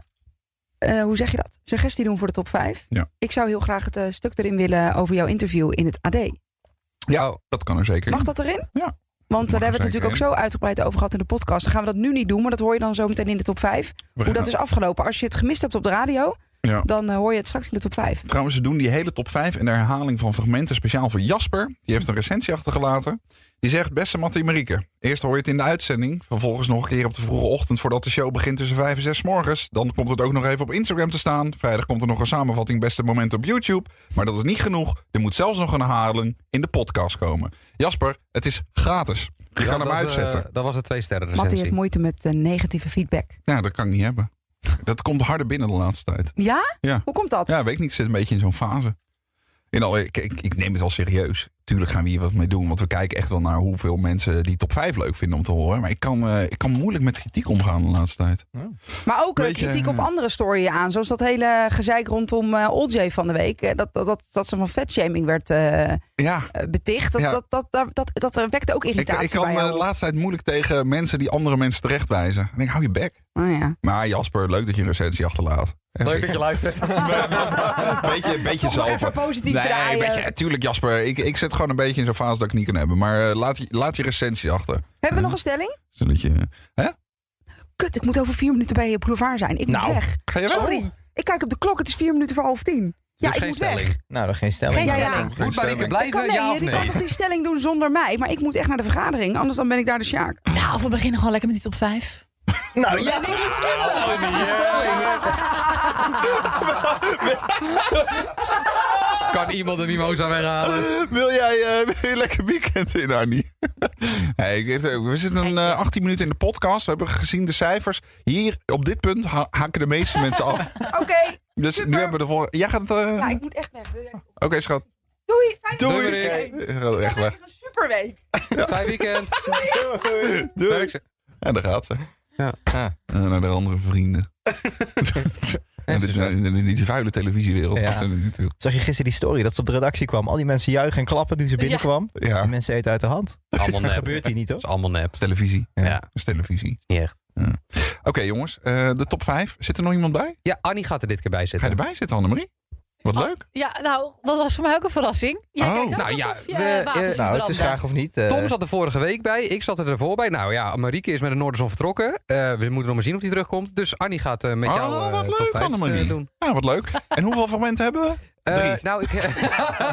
Speaker 3: eh, hoe zeg je dat? Suggestie doen voor de top 5?
Speaker 1: Ja.
Speaker 3: Ik zou heel graag het eh, stuk erin willen over jouw interview in het AD.
Speaker 1: Ja,
Speaker 2: oh.
Speaker 1: dat kan er zeker.
Speaker 3: Mag dat erin?
Speaker 1: Ja.
Speaker 3: Want eh, daar
Speaker 1: er
Speaker 3: hebben we het
Speaker 1: zeker
Speaker 3: natuurlijk ook zo uitgebreid over gehad in de podcast. Dan gaan we dat nu niet doen, maar dat hoor je dan zo meteen in de top 5.
Speaker 1: We
Speaker 3: Hoe
Speaker 1: gaan-
Speaker 3: dat is afgelopen. Als je het gemist hebt op de radio,
Speaker 1: Ja.
Speaker 3: dan eh, hoor je het straks in de top 5.
Speaker 1: Trouwens, ze doen die hele top 5 en de herhaling van fragmenten speciaal voor Jasper. Die heeft een recensie achtergelaten. Die zegt, beste Mattie en Marieke. Eerst hoor je het in de uitzending. Vervolgens nog een keer op de vroege ochtend voordat de show begint tussen 5 en 6 's morgens. Dan komt het ook nog even op Instagram te staan. Vrijdag komt er nog een samenvatting beste momenten op YouTube. Maar dat is niet genoeg. Er moet zelfs nog een herhaling in de podcast komen. Jasper, het is gratis. Je
Speaker 2: dat
Speaker 1: kan hem
Speaker 2: was, eh,
Speaker 1: uitzetten.
Speaker 2: dat was een twee sterren
Speaker 3: Mattie
Speaker 2: recensie.
Speaker 3: heeft moeite met eh, negatieve feedback.
Speaker 1: Ja, dat kan ik niet hebben. Dat komt harder binnen de laatste tijd.
Speaker 3: Ja?
Speaker 1: Ja.
Speaker 3: Hoe komt dat?
Speaker 1: Ja, weet ik niet. Ik zit een beetje in zo'n fase. In al, ik, ik, ik neem het al serieus. Tuurlijk gaan we hier wat mee doen. Want we kijken echt wel naar hoeveel mensen die top 5 leuk vinden om te horen. Maar ik kan, eh, ik kan moeilijk met kritiek omgaan de laatste tijd.
Speaker 3: Maar ook eh,
Speaker 1: Weet je,
Speaker 3: kritiek
Speaker 1: eh,
Speaker 3: op andere storyen aan. Zoals dat hele gezeik rondom eh Oljay van de week. Eh, Dat, dat, dat, dat ze van vetshaming werd eh, eh,
Speaker 1: Ja,
Speaker 3: beticht. Dat,
Speaker 1: Ja.
Speaker 3: dat, dat, dat, dat, dat, eh, wekte ook
Speaker 1: ik,
Speaker 3: irritatie
Speaker 1: ik kan
Speaker 3: bij
Speaker 1: eh,
Speaker 3: jou.
Speaker 1: de laatste tijd moeilijk tegen mensen die andere mensen terechtwijzen. En ik denk, hou je bek.
Speaker 3: Oh, ja.
Speaker 1: Maar Jasper, leuk dat je een recensie achterlaat.
Speaker 2: Leuk dat je luistert.
Speaker 1: beetje, beetje
Speaker 3: Toch nog
Speaker 1: zalven.
Speaker 3: even positief
Speaker 1: Nee,
Speaker 3: draaien.
Speaker 1: weet je, tuurlijk Jasper. Ik, ik zit gewoon een beetje in zo'n fase dat ik niet kan hebben. Maar eh, laat, je, laat je recensie achter.
Speaker 3: Hebben we nog een stelling?
Speaker 1: Zodat je...
Speaker 3: Kut, ik moet over vier minuten bij je boulevard zijn. Ik
Speaker 4: Nou.
Speaker 3: moet weg.
Speaker 1: Ga je weg?
Speaker 3: Sorry. Ik kijk op de klok. Het is vier minuten voor half tien. Ja,
Speaker 2: Dus
Speaker 3: ik
Speaker 2: geen
Speaker 3: moet
Speaker 2: stelling.
Speaker 3: weg.
Speaker 4: Nou, dan geen stelling.
Speaker 6: Geen
Speaker 3: Ja, ja.
Speaker 6: stelling.
Speaker 1: Geen
Speaker 2: Moet Marieke
Speaker 1: stelling.
Speaker 3: Ik kan,
Speaker 2: blijven,
Speaker 3: nee,
Speaker 2: ja of
Speaker 3: die
Speaker 2: nee?
Speaker 3: kan toch die stelling doen zonder mij. Maar ik moet echt naar de vergadering. Anders dan ben ik daar de Sjaak.
Speaker 6: Nou, we beginnen gewoon lekker met die top 5.
Speaker 4: Nou ja, nee, die
Speaker 2: Kan iemand een mimosa weghalen?
Speaker 1: Wil jij eh, wil je een lekker weekend in, Arnie? Hey, ik weet het ook. we zitten een, eh, 18 minuten in de podcast. We hebben gezien de cijfers. Hier, op dit punt, ha- haken de meeste mensen af.
Speaker 3: Oké.
Speaker 1: Dus
Speaker 3: Super.
Speaker 1: nu hebben we de volgende... Jij gaat het... eh,
Speaker 3: Ja, ik moet echt weg. Wil jij-
Speaker 1: Oké, schat.
Speaker 3: Doei. Fijn
Speaker 1: Doei.
Speaker 2: Doei,
Speaker 1: Eh, Echt weg.
Speaker 3: een superweek.
Speaker 2: Fijn weekend.
Speaker 1: Doei. En daar gaat ze.
Speaker 2: Ja.
Speaker 4: Ah.
Speaker 1: En naar de andere vrienden. En dit,
Speaker 2: succes.
Speaker 1: die, die vuile televisiewereld.
Speaker 4: Ja.
Speaker 1: Dat zijn het natuurlijk.
Speaker 4: Zag je gisteren die story dat ze op de redactie kwam? Al die mensen juichen en klappen toen ze binnenkwam.
Speaker 1: Ja,
Speaker 4: En
Speaker 1: dat
Speaker 4: mensen eten uit de hand.
Speaker 2: Allemaal
Speaker 4: Dat
Speaker 2: nep.
Speaker 4: gebeurt hier niet, hoor.
Speaker 2: is allemaal nep.
Speaker 1: is televisie.
Speaker 4: Ja.
Speaker 1: Dat is televisie.
Speaker 2: Niet echt.
Speaker 1: Oké, jongens. eh, de top 5. Zit er nog iemand bij?
Speaker 2: Ja, Annie gaat er dit keer bij
Speaker 1: Ga je
Speaker 2: zitten.
Speaker 1: erbij zitten, Annemarie? Wat leuk.
Speaker 6: Ja, nou, dat was voor mij ook een verrassing. Jij
Speaker 1: Oh.
Speaker 6: kijkt ook
Speaker 2: Nou ja,
Speaker 6: alsof je
Speaker 2: we, eh,
Speaker 6: eh, water ziet
Speaker 4: Nou, het
Speaker 6: branden.
Speaker 4: is graag of niet. eh,
Speaker 2: Tom zat er vorige week bij. Ik zat er ervoor bij. Nou ja, Marieke is met een Noorderzon vertrokken. Eh, we moeten nog maar zien of die terugkomt. Dus Annie gaat eh, met
Speaker 1: Oh,
Speaker 2: jou eh,
Speaker 1: wat
Speaker 2: top
Speaker 1: leuk,
Speaker 2: vijf,
Speaker 1: Annemarie.
Speaker 2: eh, doen.
Speaker 1: Nou, wat leuk. En hoeveel fragmenten hebben we?
Speaker 2: Eh,
Speaker 1: Drie.
Speaker 2: nou, ik...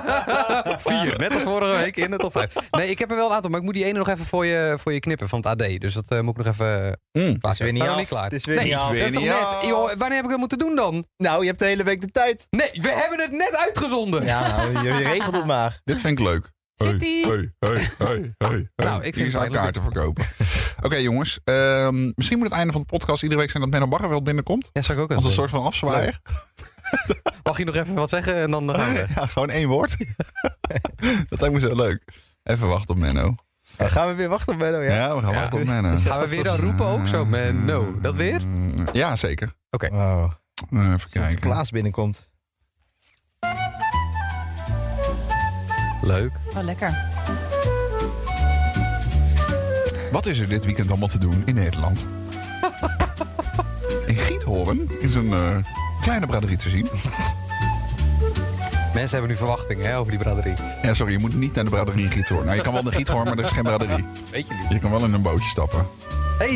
Speaker 2: Vier, net als vorige week in de top 5. Nee, ik heb er wel een aantal, maar ik moet die ene nog even voor je, voor je knippen van het AD. Dus dat eh, moet ik nog even
Speaker 1: Mm.
Speaker 4: het is weer
Speaker 2: plaatsen.
Speaker 4: niet
Speaker 2: Staat nog
Speaker 4: af.
Speaker 2: niet klaar.
Speaker 4: Het is weer
Speaker 2: Nee,
Speaker 4: niet
Speaker 2: het
Speaker 4: af.
Speaker 2: is
Speaker 1: weer
Speaker 2: toch
Speaker 1: niet
Speaker 2: net,
Speaker 1: af.
Speaker 2: joh, wanneer heb ik dat moeten doen dan?
Speaker 4: Nou, je hebt de hele week de tijd.
Speaker 2: Nee, we hebben het net uitgezonden.
Speaker 4: Ja, nou, je, je regelt het maar.
Speaker 1: Dit vind ik leuk.
Speaker 6: Zit-ie.
Speaker 1: hey, hey, hey, hey.
Speaker 2: Nou, ik vind
Speaker 1: Hier
Speaker 2: het
Speaker 1: zou ik
Speaker 2: pijnlijk.
Speaker 1: kaarten verkopen. Oké, jongens. ehm, misschien moet het einde van de podcast iedere week zijn dat Menno Barreveld binnenkomt.
Speaker 2: Ja, zou ik ook
Speaker 1: Als een
Speaker 2: even
Speaker 1: soort van afzwaaier.
Speaker 2: doen. Mag je nog even wat zeggen en dan eh, gaan we weg.
Speaker 1: Oh, Ja, gewoon één woord. dat lijkt me zo leuk. Even wachten op Menno.
Speaker 4: Dan gaan we weer wachten, Benno.
Speaker 1: Ja,
Speaker 4: Ja.
Speaker 1: we gaan
Speaker 2: Ja.
Speaker 1: wachten op Menno. Mm,
Speaker 4: Is dat
Speaker 2: Gaan we weer
Speaker 4: soort-
Speaker 2: dan roepen ook zo, Menno? Dat weer?
Speaker 1: Ja, zeker.
Speaker 4: Wow.
Speaker 1: Eh, Even
Speaker 4: Als
Speaker 1: kijken.
Speaker 4: Klaas binnenkomt.
Speaker 2: Leuk.
Speaker 6: Oh, lekker.
Speaker 1: Wat is er dit weekend allemaal te doen in Nederland? Apeldoorn in zijn eh, kleine braderie te zien.
Speaker 2: Mensen hebben nu verwachtingen hè, over die braderie.
Speaker 1: Ja, sorry, je moet niet naar de braderie in Giethoorn. Nou, je kan wel naar Giethoorn, maar er is geen braderie.
Speaker 2: Weet je niet.
Speaker 1: Je kan wel in een bootje stappen.
Speaker 2: Hey,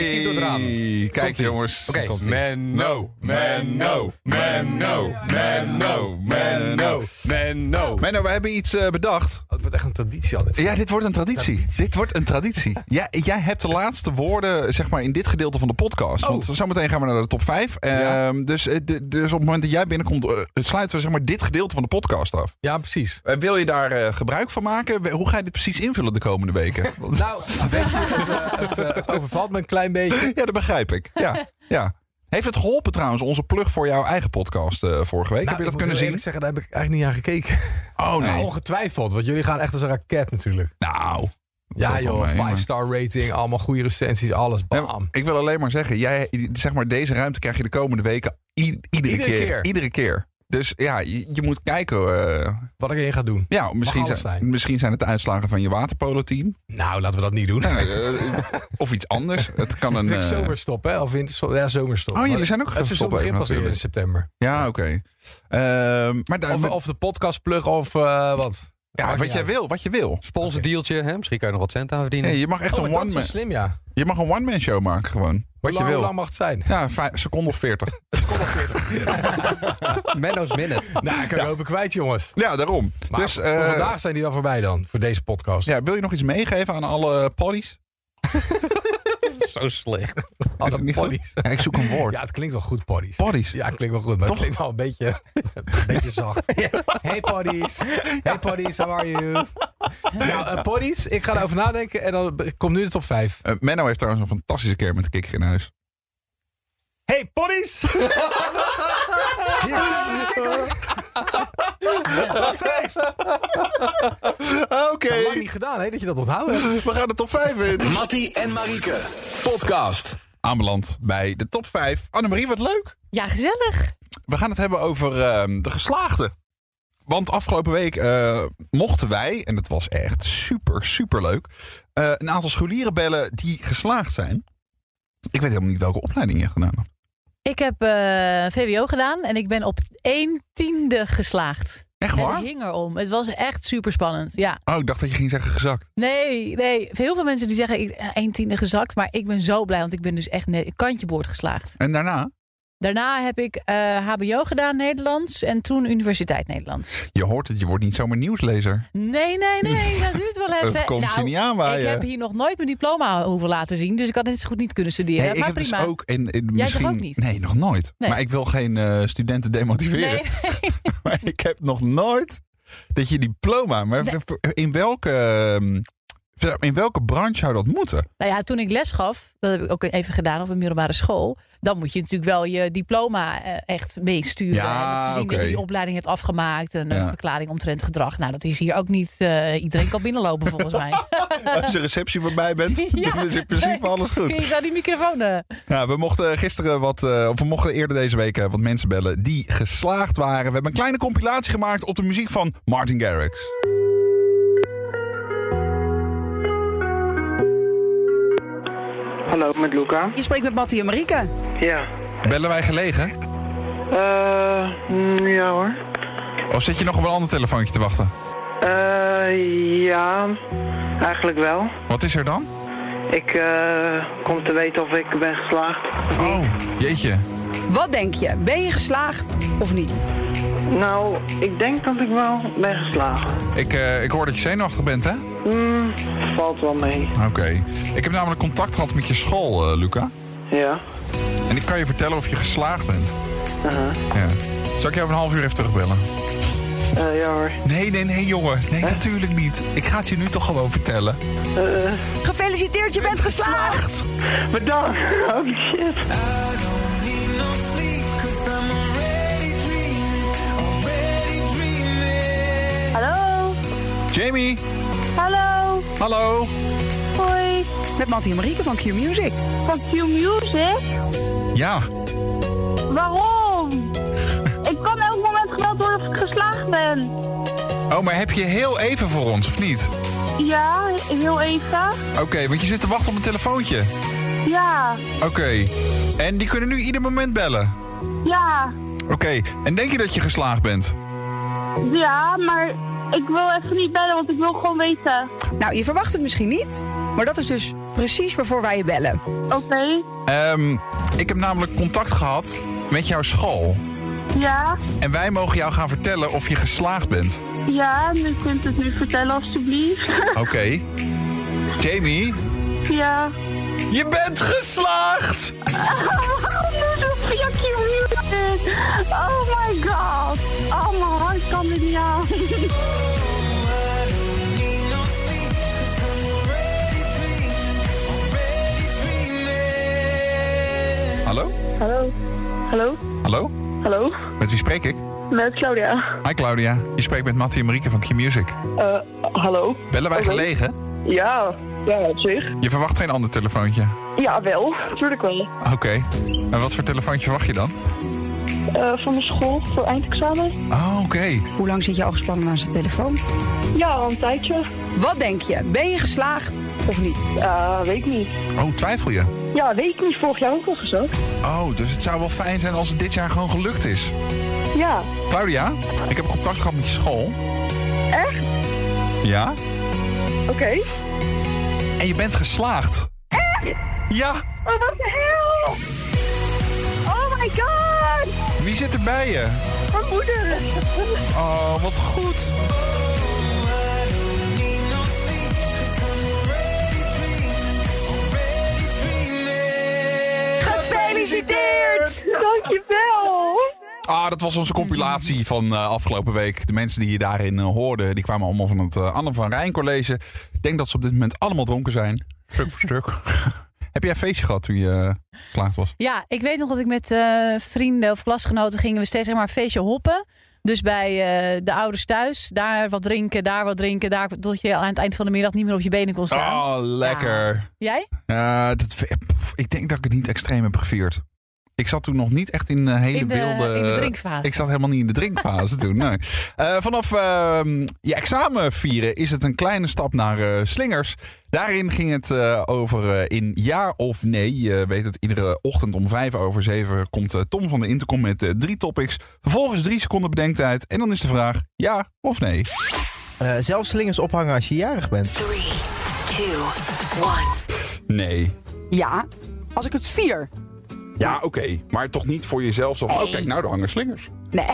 Speaker 2: ik zie door het raam.
Speaker 1: Kijk
Speaker 2: Komt-ie.
Speaker 1: jongens.
Speaker 2: Oké.
Speaker 1: Komt-ie.
Speaker 5: Man,
Speaker 1: No, man, no,
Speaker 5: man, no, man, no, man, no, man, no.
Speaker 1: Menno, we hebben iets eh, bedacht.
Speaker 5: Het wordt echt een traditie al. dit.
Speaker 1: Ja, dit wordt een traditie. Dit wordt een traditie. Ja, jij hebt de laatste woorden zeg maar, in dit gedeelte van de podcast. Want zometeen gaan we naar de top 5.
Speaker 5: Oh. Ja.
Speaker 1: dus, eh, d- dus op het moment dat jij binnenkomt, eh, sluiten we zeg maar, dit gedeelte van de podcast af.
Speaker 5: Ja, precies.
Speaker 1: Eh, wil je daar eh, gebruik van maken? We- Hoe ga je dit precies invullen de komende weken? Want-
Speaker 5: Nou,
Speaker 2: Ah,
Speaker 5: weet je, het, eh, het, eh, het overvalt me een klein beetje.
Speaker 1: ja, dat begrijp ik. Ja, ja. Heeft het geholpen trouwens, onze plug voor jouw eigen podcast eh, vorige week?
Speaker 5: Nou,
Speaker 1: Heb
Speaker 5: ik
Speaker 1: je dat
Speaker 5: moet
Speaker 1: kunnen
Speaker 5: heel
Speaker 1: zien?
Speaker 5: eerlijk zeggen, daar heb ik eigenlijk niet aan gekeken.
Speaker 1: Oh
Speaker 5: Nou,
Speaker 1: nee.
Speaker 5: ongetwijfeld, want jullie gaan echt als een raket natuurlijk.
Speaker 1: Nou.
Speaker 5: Ja
Speaker 1: valt wel
Speaker 5: joh,
Speaker 1: mee, maar-
Speaker 5: 5-star rating, allemaal goede recensies, alles,
Speaker 1: Nee,
Speaker 5: bam.
Speaker 1: maar ik wil alleen maar zeggen, jij, zeg maar, deze ruimte krijg je de komende weken i- iedere,
Speaker 5: Iedere
Speaker 1: keer.
Speaker 5: keer.
Speaker 1: Iedere keer. Dus ja, je, je moet kijken. eh,
Speaker 5: Wat ik erin ga doen.
Speaker 1: ja, misschien zijn,
Speaker 5: alles zijn.
Speaker 1: misschien zijn het de uitslagen van je waterpolo-team.
Speaker 5: Nou, laten we dat niet doen.
Speaker 1: Ja, eh, of iets anders. Het kan een.
Speaker 5: Het is
Speaker 1: eh,
Speaker 5: ook zomerstop, hè? Of winterstop. Ja, zomerstop.
Speaker 1: Oh, jullie
Speaker 5: Maar
Speaker 1: zijn ook gaan
Speaker 5: Het seizoen
Speaker 1: stoppen.
Speaker 5: begint
Speaker 1: even
Speaker 5: pas weer in
Speaker 1: natuurlijk.
Speaker 5: september.
Speaker 1: Ja, oké. Ehm, maar daar,
Speaker 5: Of, of de podcastplug of eh, wat.
Speaker 1: ja,
Speaker 5: maakt
Speaker 1: wat
Speaker 5: niet
Speaker 1: jij
Speaker 5: uit.
Speaker 1: wil, wat je wil.
Speaker 2: Sponsordealtje, hè? misschien kan je nog wat cent aan verdienen.
Speaker 1: Nee, je mag
Speaker 5: Oh,
Speaker 1: echt een
Speaker 5: dat is wel
Speaker 1: one-man.
Speaker 5: slim, ja. Hoe
Speaker 1: Je mag een one-man show maken gewoon. Wat
Speaker 5: lang-
Speaker 1: je
Speaker 5: Hoe
Speaker 1: wil.
Speaker 5: lang mag het zijn?
Speaker 1: Ja, vijf, seconde of veertig.
Speaker 2: Menno's Minute.
Speaker 5: nou, ik kan er hopen kwijt, jongens.
Speaker 1: Ja, daarom.
Speaker 5: Maar
Speaker 1: dus
Speaker 5: voor
Speaker 1: eh,
Speaker 5: vandaag zijn die wel voorbij dan, voor deze podcast.
Speaker 1: ja, wil je nog iets meegeven aan alle poddies?
Speaker 2: Zo slecht.
Speaker 5: Alle
Speaker 1: het niet goed?
Speaker 5: poddies.
Speaker 1: Ja, ik zoek een woord.
Speaker 5: Ja, het klinkt wel goed, poddies.
Speaker 1: Poddies.
Speaker 5: Ja, het klinkt wel goed, maar
Speaker 1: Toch?
Speaker 5: het klinkt wel een beetje, een beetje zacht. Hey poddies, hey poddies, how are you? Nou, eh, poddies, ik ga erover nadenken en dan be- komt nu de top 5.
Speaker 1: Eh, Menno heeft trouwens een fantastische keer met de kikker in huis.
Speaker 5: Hey poddies! top 5!
Speaker 1: Oké,
Speaker 5: Lang niet gedaan, hè, dat je dat onthouden hebt.
Speaker 1: we gaan de top 5 in.
Speaker 7: Mattie en Marieke. Podcast.
Speaker 1: Aanbeland bij de top 5. Annemarie, wat leuk.
Speaker 6: Ja, gezellig.
Speaker 1: We gaan het hebben over ehm, de geslaagden. Want afgelopen week eh, mochten wij, en het was echt super, super leuk, eh, een aantal scholieren bellen die geslaagd zijn. Ik weet helemaal niet welke opleiding je gedaan hebt.
Speaker 6: Ik heb eh, VWO gedaan en ik ben op 1 tiende geslaagd.
Speaker 1: Echt
Speaker 6: Het
Speaker 1: waar?
Speaker 6: hing erom. Het was echt super spannend. Ja.
Speaker 1: Oh, ik dacht dat je ging zeggen gezakt.
Speaker 6: Nee, nee. Heel veel mensen die zeggen ik 1 tiende gezakt. Maar ik ben zo blij, want ik ben dus echt net kantje boord geslaagd.
Speaker 1: En daarna?
Speaker 6: Daarna heb ik eh, HBO gedaan, Nederlands. En toen Universiteit Nederlands.
Speaker 1: Je hoort het, je wordt niet zomaar nieuwslezer.
Speaker 6: Nee, nee, nee. Dat duurt wel even.
Speaker 1: Het komt
Speaker 6: Nou,
Speaker 1: je niet
Speaker 6: ik
Speaker 1: aanwaaien.
Speaker 6: heb hier nog nooit mijn diploma hoeven laten zien. Dus ik had net zo goed niet kunnen studeren.
Speaker 1: Nee, ik
Speaker 6: maar
Speaker 1: heb
Speaker 6: prima.
Speaker 1: dus ook... En, en
Speaker 6: toch
Speaker 1: misschien,
Speaker 6: ook niet?
Speaker 1: Nee, nog nooit.
Speaker 6: Nee.
Speaker 1: Maar ik wil geen eh, studenten demotiveren.
Speaker 6: nee,
Speaker 1: Maar ik heb nog nooit dat je diploma... Maar in welke... ehm, In welke branche zou dat moeten?
Speaker 6: Nou ja, toen ik les gaf, dat heb ik ook even gedaan op een middelbare school. Dan moet je natuurlijk wel je diploma eh, echt meesturen.
Speaker 1: Ja,
Speaker 6: en dat ze zien dat
Speaker 1: oké.
Speaker 6: je die opleiding hebt afgemaakt. En een
Speaker 1: Ja.
Speaker 6: verklaring omtrent gedrag. Nou, dat is hier ook niet. eh, iedereen kan binnenlopen volgens mij.
Speaker 1: Als je receptie voorbij bent,
Speaker 6: Ja.
Speaker 1: dan is in principe alles goed.
Speaker 6: Kun je zo die microfoon. eh,
Speaker 1: Ja, we mochten gisteren wat, eh, of we mochten eerder deze week eh, wat mensen bellen die geslaagd waren. We hebben een kleine compilatie gemaakt op de muziek van Martin Garrix.
Speaker 8: Hallo, met Luca.
Speaker 3: Je spreekt met Mattie en Marieke.
Speaker 8: Ja.
Speaker 1: Bellen wij gelegen?
Speaker 8: Eh, mm, ja hoor.
Speaker 1: Of zit je nog op een ander telefoontje te wachten?
Speaker 8: Eh, ja, eigenlijk wel.
Speaker 1: Wat is er dan?
Speaker 8: Ik eh, kom te weten of ik ben geslaagd.
Speaker 1: Oh, jeetje.
Speaker 3: Wat denk je? Ben je geslaagd of niet?
Speaker 8: Nou, ik denk dat ik wel ben geslaagd.
Speaker 1: Ik, eh, ik hoor dat je zenuwachtig bent, hè?
Speaker 8: Mm, valt wel mee.
Speaker 1: Oké. Ik heb namelijk contact gehad met je school, eh, Luca.
Speaker 8: Ja.
Speaker 1: En ik kan je vertellen of je geslaagd bent.
Speaker 8: Aha.
Speaker 1: Ja. Zal ik je over een half uur even terugbellen?
Speaker 8: Eh, ja hoor.
Speaker 1: Nee, nee, nee, jongen. Nee, natuurlijk niet. Ik ga het je nu toch gewoon vertellen.
Speaker 3: Gefeliciteerd, je bent geslaagd!
Speaker 8: Bedankt. Oh shit.
Speaker 3: Hallo,
Speaker 1: Jamie,
Speaker 9: Hallo,
Speaker 1: hallo.
Speaker 9: hoi,
Speaker 3: met Mattie en Marieke van Q Music.
Speaker 9: van Q Music.
Speaker 1: Ja,
Speaker 9: Waarom? Ik kan elk moment geweld worden of ik geslaagd ben.
Speaker 1: Oh, maar heb je heel even voor ons, of niet?
Speaker 9: Ja, heel even.
Speaker 1: Oké, want je zit te wachten op een telefoontje.
Speaker 9: Ja,
Speaker 1: Oké. En die kunnen nu ieder moment bellen.
Speaker 9: ja,
Speaker 1: Oké. En denk je dat je geslaagd bent?
Speaker 9: ja, maar ik wil even niet bellen, want ik wil gewoon weten.
Speaker 3: Nou, je verwacht het misschien niet, maar dat is dus precies waarvoor wij je bellen.
Speaker 9: Oké,
Speaker 1: Ehm, ik heb namelijk contact gehad met jouw school.
Speaker 9: ja,
Speaker 1: En wij mogen jou gaan vertellen of je geslaagd bent.
Speaker 9: ja, nu kunt u het nu vertellen alstublieft.
Speaker 1: Oké. Jamie,
Speaker 9: ja.
Speaker 1: je bent geslaagd!
Speaker 9: Oh, Moeder, fucking music! Oh my god! Oh, mijn hart kan er niet aan.
Speaker 1: Hallo?
Speaker 9: Hallo? Hallo?
Speaker 1: Hallo?
Speaker 9: Hallo?
Speaker 1: Met wie spreek ik?
Speaker 9: Met Claudia.
Speaker 1: Hi Claudia, je spreekt met Mattie en Marieke van Q-Music.
Speaker 9: Eh, hallo?
Speaker 1: Bellen wij
Speaker 9: Oké.
Speaker 1: gelegen?
Speaker 9: Ja, ja, op zich.
Speaker 1: Je verwacht geen ander telefoontje.
Speaker 9: Ja, wel. Tuurlijk wel.
Speaker 1: Oké. En wat voor telefoontje verwacht je dan?
Speaker 9: Eh, van mijn school, voor eindexamen?
Speaker 1: Oh, oké.
Speaker 3: Hoe lang zit je al gespannen aan zijn telefoon?
Speaker 9: Ja, al een tijdje.
Speaker 3: Wat denk je? Ben je geslaagd of niet?
Speaker 9: Eh, weet ik niet.
Speaker 1: Oh, twijfel je?
Speaker 9: Ja, weet ik niet. Vorig jaar ook al gezegd.
Speaker 1: Oh, dus het zou wel fijn zijn als het dit jaar gewoon gelukt is.
Speaker 9: Ja.
Speaker 1: Claudia, ik heb contact gehad met je school.
Speaker 9: Echt?
Speaker 1: Ja?
Speaker 9: Oké.
Speaker 1: En je bent geslaagd. Echt? Ja.
Speaker 9: Oh, wat de hel! Oh my god!
Speaker 1: Wie zit er bij je?
Speaker 9: Mijn moeder!
Speaker 1: Oh, wat goed.
Speaker 3: Gefeliciteerd!
Speaker 9: Dankjewel!
Speaker 1: Ah, dat was onze compilatie van eh, afgelopen week. De mensen die je daarin eh, hoorden, die kwamen allemaal van het eh, Anne van Rijn College. Ik denk dat ze op dit moment allemaal dronken zijn. Stuk voor stuk. Heb jij een feestje gehad toen je eh, geslaagd was?
Speaker 6: Ja, ik weet nog dat ik met eh, vrienden of klasgenoten gingen we steeds zeg maar een feestje hoppen. Dus bij eh, de ouders thuis, daar wat drinken, daar wat drinken, daar tot je aan het eind van de middag niet meer op je benen kon staan.
Speaker 1: Oh, lekker.
Speaker 6: Jij?
Speaker 1: Eh, dat, pff, ik denk dat ik het niet extreem heb gevierd. Ik zat toen nog niet echt in eh, hele
Speaker 6: In de,
Speaker 1: wilde...
Speaker 6: in de drinkfase.
Speaker 1: Ik zat helemaal niet in de drinkfase toen. Nee. Eh, vanaf ehm, je examen vieren is het een kleine stap naar eh, slingers. Daarin ging het eh, over eh, in ja of nee. Je weet het, iedere ochtend om vijf over zeven komt eh, Tom van de Intercom met eh, drie topics. Vervolgens drie seconden bedenktijd. En dan is de vraag ja of nee.
Speaker 4: Eh, zelfs slingers ophangen als je jarig bent.
Speaker 1: Nee.
Speaker 3: Ja, als ik het vier.
Speaker 1: Ja, oké. Maar toch niet voor jezelf. Zo, van, oh, kijk, nou, er hangen slingers.
Speaker 3: Nee,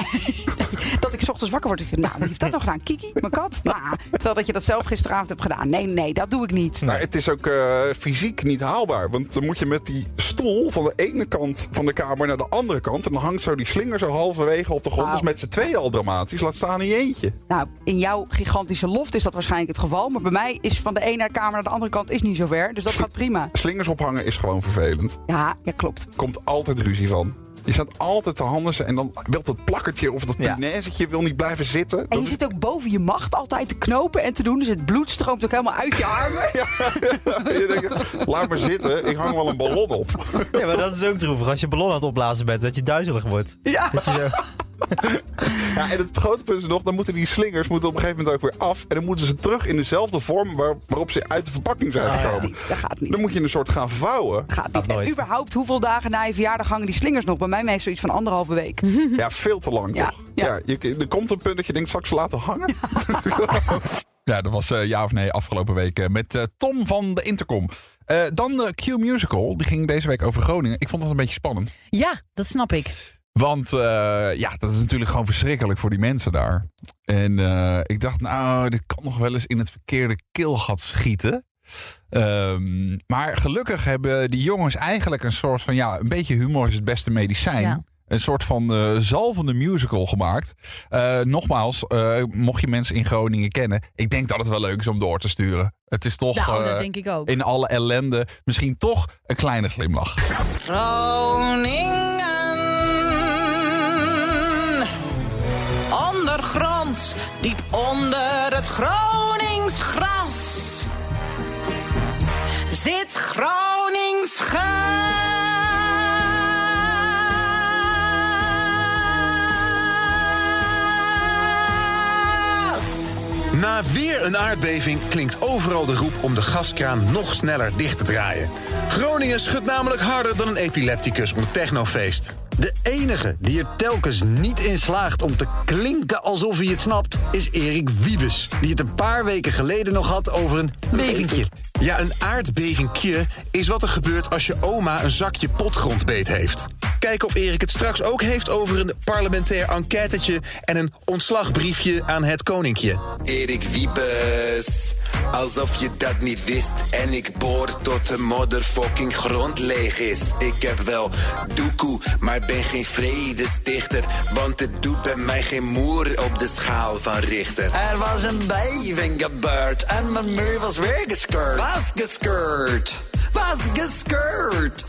Speaker 3: dat ik 's ochtends wakker word. en denk, Nou, wie heeft dat nog gedaan? Kiki, mijn kat? Nou, terwijl dat je dat zelf gisteravond hebt gedaan. Nee, nee, dat doe ik niet.
Speaker 10: Maar het is ook eh, fysiek niet haalbaar. Want dan moet je met die stoel van de ene kant van de kamer naar de andere kant. En dan hangt zo die slinger zo halverwege op de grond.
Speaker 3: Wauw.
Speaker 10: Dus met z'n tweeën al dramatisch. Laat staan in je eentje.
Speaker 3: Nou, in jouw gigantische loft is dat waarschijnlijk het geval. Maar bij mij is van de ene kamer naar de andere kant is niet zo ver. Dus dat gaat prima.
Speaker 10: Slingers ophangen is gewoon vervelend.
Speaker 3: Ja, ja klopt.
Speaker 10: Komt altijd ruzie van. Je staat altijd te handen en dan wil dat plakkertje of dat
Speaker 4: Ja.
Speaker 10: punaisetje wil niet blijven zitten.
Speaker 3: En
Speaker 10: Dat
Speaker 3: je
Speaker 10: is-
Speaker 3: zit ook boven je macht altijd te knopen en te doen. Dus het bloed stroomt ook helemaal uit je armen.
Speaker 10: je denkt, laat maar zitten, ik hang wel een ballon op.
Speaker 4: Ja, maar dat is ook droevig. Als je ballon aan het opblazen bent, dat je duizelig wordt.
Speaker 3: Ja.
Speaker 4: Dat je zo...
Speaker 10: Ja, en het grote punt is nog, dan moeten die slingers moeten op een gegeven moment ook weer af. En dan moeten ze terug in dezelfde vorm waar- waarop ze uit de verpakking zijn
Speaker 3: Dat gaat
Speaker 10: gekomen.
Speaker 3: niet. Dat gaat niet.
Speaker 10: Dan moet je een soort gaan vouwen.
Speaker 3: Dat gaat niet. En
Speaker 4: nooit.
Speaker 3: überhaupt, hoeveel dagen na je verjaardag hangen die slingers nog? Bij mij meestal iets van anderhalve week.
Speaker 10: Ja, veel te lang
Speaker 3: Ja,
Speaker 10: toch?
Speaker 3: ja.
Speaker 10: Ja. je, er komt een punt dat je denkt, zal ik ze laten hangen?
Speaker 1: Ja, dat was eh, ja of nee afgelopen week eh, met eh, Tom van de Intercom. Eh, dan de Q Musical, die ging deze week over Groningen. Ik vond dat een beetje spannend.
Speaker 6: Ja, dat snap ik.
Speaker 1: Want eh, ja, dat is natuurlijk gewoon verschrikkelijk voor die mensen daar. En eh, ik dacht, nou, dit kan nog wel eens in het verkeerde keelgat schieten. Ehm, maar gelukkig hebben die jongens eigenlijk een soort van, ja, een beetje humor is het beste medicijn.
Speaker 6: Ja.
Speaker 1: Een soort van eh, zalvende musical gemaakt. Eh, nogmaals, eh, mocht je mensen in Groningen kennen, ik denk dat het wel leuk is om door te sturen. Het is toch
Speaker 6: nou,
Speaker 1: eh,
Speaker 6: dat denk ik ook.
Speaker 1: in alle ellende misschien toch een kleine glimlach.
Speaker 11: Groningen. Ondergronds, diep onder het Gronings gras. Zit Gronings gras.
Speaker 7: Na
Speaker 12: Na weer een aardbeving klinkt overal de roep om de gaskraan nog sneller dicht te draaien. Groningen schudt namelijk harder dan een epilepticus op een technofeest. De enige die er telkens niet in slaagt om te klinken alsof hij het snapt, is Erik Wiebes. Die het een paar weken geleden nog had over een bevingje. Ja, een aardbevingje is wat er gebeurt als je oma een zakje potgrondbeet heeft. Kijken of Erik het straks ook heeft over een parlementair enquêtetje en een ontslagbriefje aan het koninkje.
Speaker 13: Erik Wiebes, alsof je dat niet wist. En ik boor tot de motherfucking grond leeg is. Ik heb wel doekoe, maar ben geen vredestichter. Want het doet bij mij geen moer op de schaal van Richter.
Speaker 14: Er was een beving gebeurd en mijn muur was weer gescheurd. Was gescheurd, was gescheurd.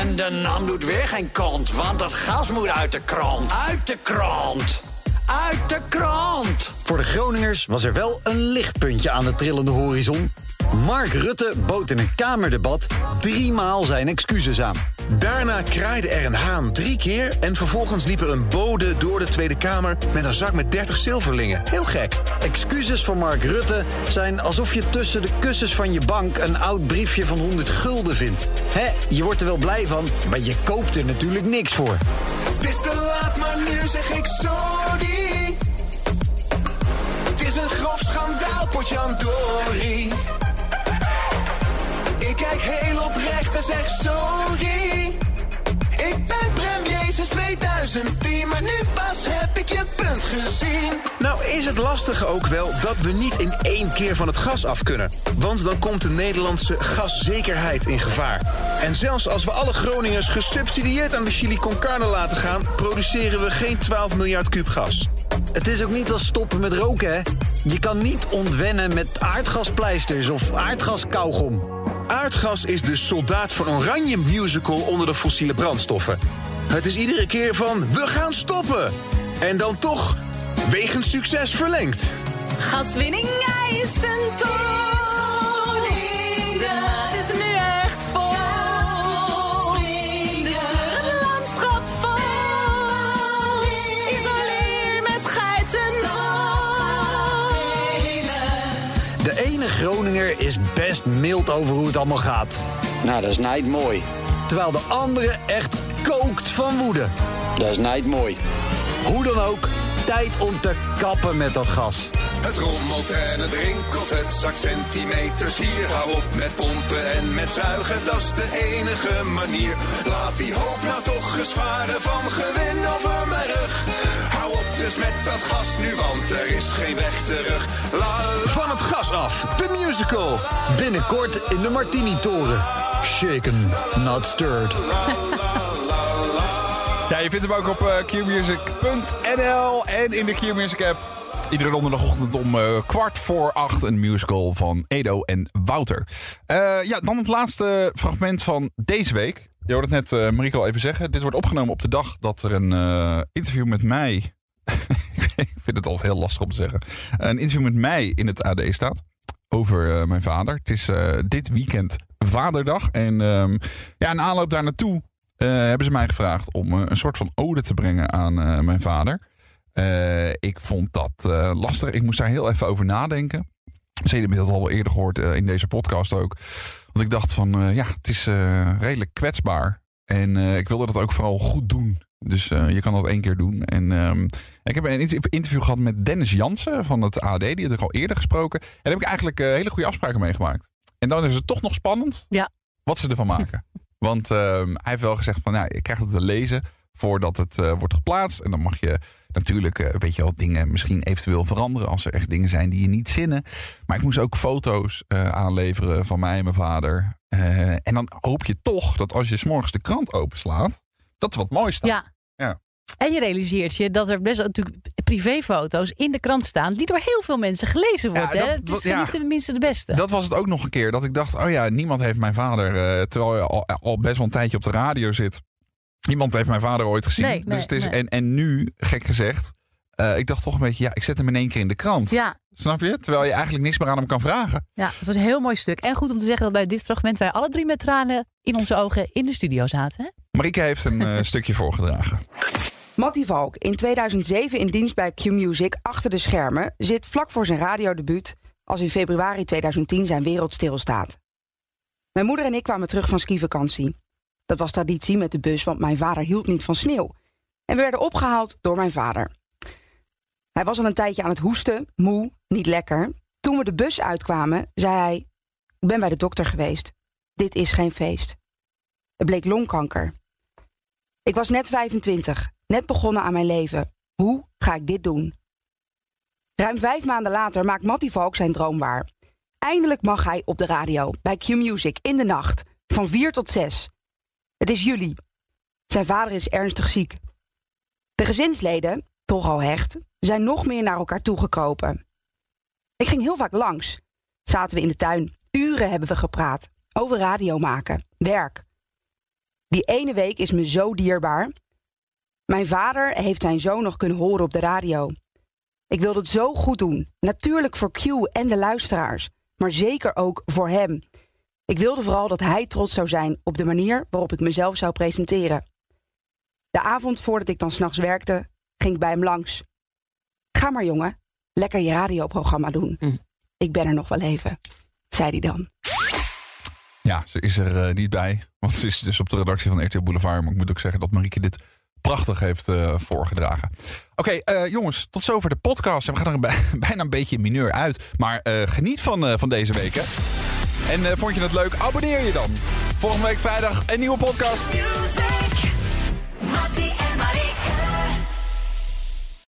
Speaker 14: En de naam doet weer geen kont, want dat gas moet uit de krant. Uit de krant, uit de krant.
Speaker 12: Voor de Groningers was er wel een lichtpuntje aan de trillende horizon. Mark Rutte bood in een Kamerdebat driemaal zijn excuses aan. Daarna kraaide er een haan drie keer en vervolgens liep er een bode door de Tweede Kamer met een zak met 30 zilverlingen. Heel gek. Excuses van Mark Rutte zijn alsof je tussen de kussens van je bank een oud briefje van 100 gulden vindt. Hè, je wordt er wel blij van, maar je koopt er natuurlijk niks voor.
Speaker 11: Het is te laat, maar nu zeg ik sorry. Het is een grof schandaal, potjandori. Ik kijk heel oprecht en zeg sorry. Ik ben premier sinds 2010, maar nu pas heb ik je punt gezien.
Speaker 12: Nou is het lastige ook wel dat we niet in één keer van het gas af kunnen. Want dan komt de Nederlandse gaszekerheid in gevaar. En zelfs als we alle Groningers gesubsidieerd aan de chili con carne laten gaan... produceren we geen 12 miljard kuub gas.
Speaker 14: Het is ook niet als stoppen met roken, hè? Je kan niet ontwennen met aardgaspleisters of aardgaskauwgom.
Speaker 12: Aardgas is de soldaat van Oranje musical onder de fossiele brandstoffen. Het is iedere keer van, we gaan stoppen! En dan toch, wegens succes verlengd.
Speaker 11: Gaswinning eist een toning. Het is nu echt vol. Dus kleur het landschap vol. Isoleer met geiten.
Speaker 12: De ene Groninger is best mild over hoe het allemaal gaat.
Speaker 14: Nou, dat is niet mooi.
Speaker 12: Terwijl de andere echt kookt van woede.
Speaker 14: Dat is niet mooi.
Speaker 12: Hoe dan ook, tijd om te kappen met dat gas.
Speaker 7: Het rommelt en het rinkelt, het zakt centimeters hier. Hou op met pompen en met zuigen, dat is de enige manier. Laat die hoop nou toch eens varen van gewin over mijn rug. Hou op dus met dat gas nu, want er is geen weg terug. La, la.
Speaker 12: Van het gas af, de musical. Binnenkort in de Martini-toren. Shaken, not stirred.
Speaker 1: Ja, je vindt hem ook op eh, qmusic.nl en in de Qmusic app. Iedere donderdagochtend om eh, kwart voor acht een musical van Edo en Wouter. Eh, ja, dan het laatste fragment van deze week. Je hoorde het net eh Marieke al even zeggen. Dit wordt opgenomen op de dag dat er een eh, interview met mij... ik vind het altijd heel lastig om te zeggen. Een interview met mij in het AD staat. Over eh, mijn vader. Het is eh, dit weekend Vaderdag. En ehm, ja, in aanloop daar naartoe eh, hebben ze mij gevraagd om eh, een soort van ode te brengen aan eh, mijn vader. Eh, ik vond dat eh, lastig. Ik moest daar heel even over nadenken. Ze hebben dat al wel eerder gehoord eh, in deze podcast ook. Want ik dacht van, eh, ja, het is eh, redelijk kwetsbaar. En eh, ik wilde dat ook vooral goed doen. Dus eh, je kan dat één keer doen. En ehm, ik heb een int- interview gehad met Dennis Jansen van het AD. Die had ik al eerder gesproken. En daar heb ik eigenlijk eh, hele goede afspraken mee gemaakt. En dan is het toch nog spannend
Speaker 6: Ja.
Speaker 1: wat ze ervan maken. Want ehm, hij heeft wel gezegd van, nou, je krijgt het te lezen voordat het eh, wordt geplaatst. En dan mag je natuurlijk, eh, weet je wel, dingen misschien eventueel veranderen als er echt dingen zijn die je niet zinnen. Maar ik moest ook foto's eh, aanleveren van mij en mijn vader. Eh, en dan hoop je toch dat als je 's morgens de krant openslaat, dat er wat moois staat.
Speaker 6: Ja.
Speaker 1: Ja.
Speaker 6: En je realiseert je dat er best wel natuurlijk privéfoto's in de krant staan... die door heel veel mensen gelezen
Speaker 1: Ja,
Speaker 6: worden. hè.
Speaker 1: dat-
Speaker 6: Het is
Speaker 1: dat- ja.
Speaker 6: niet tenminste de beste.
Speaker 1: Dat was het ook nog een keer. Dat ik dacht, oh ja, niemand heeft mijn vader, eh, terwijl je al, al best wel een tijdje op de radio zit. Niemand heeft mijn vader ooit gezien.
Speaker 6: Nee, nee,
Speaker 1: dus het is,
Speaker 6: nee.
Speaker 1: en, en nu, gek gezegd, eh, ik dacht toch een beetje, ja, ik zet hem in één keer in de krant.
Speaker 6: Ja.
Speaker 1: Snap je? Terwijl je eigenlijk niks meer aan hem kan vragen.
Speaker 6: Ja, het was een heel mooi stuk. En goed om te zeggen dat bij dit fragment wij alle drie met tranen in onze ogen in de studio zaten. Hè?
Speaker 1: Marike heeft een eh, stukje voorgedragen.
Speaker 3: Matty Valk, in 2007 in dienst bij Q-Music achter de schermen, zit vlak voor zijn radiodebuut als in februari 2010 zijn wereld stilstaat. Mijn moeder en ik kwamen terug van skivakantie. Dat was traditie met de bus, want mijn vader hield niet van sneeuw. En we werden opgehaald door mijn vader. Hij was al een tijdje aan het hoesten, moe, niet lekker. Toen we de bus uitkwamen, zei hij: Ik ben bij de dokter geweest. Dit is geen feest. Het bleek longkanker. Ik was net 25, net begonnen aan mijn leven. Hoe ga ik dit doen? Ruim vijf maanden later maakt Matty Valk zijn droom waar. Eindelijk mag hij op de radio, bij Q-Music, in de nacht, van 4 tot 6. Het is juli. Zijn vader is ernstig ziek. De gezinsleden, toch al hecht, zijn nog meer naar elkaar toegekropen. Ik ging heel vaak langs. Zaten we in de tuin. Uren hebben we gepraat. Over radio maken. Werk. Die ene week is me zo dierbaar. Mijn vader heeft zijn zoon nog kunnen horen op de radio. Ik wilde het zo goed doen. Natuurlijk voor Q en de luisteraars. Maar zeker ook voor hem. Ik wilde vooral dat hij trots zou zijn op de manier waarop ik mezelf zou presenteren. De avond voordat ik dan s'nachts werkte, ging ik bij hem langs. Ga maar jongen, lekker je radioprogramma doen. Ik ben er nog wel even, zei hij dan.
Speaker 1: Ja, ze is er eh, niet bij. Want ze is dus op de redactie van RTL Boulevard. Maar ik moet ook zeggen dat Marieke dit prachtig heeft eh, voorgedragen. Oké, eh, jongens, tot zover de podcast. En we gaan er een bij- bijna een beetje in mineur uit. Maar eh, geniet van, eh, van deze week, hè. En eh, vond je het leuk? Abonneer je dan. Volgende week vrijdag een nieuwe podcast.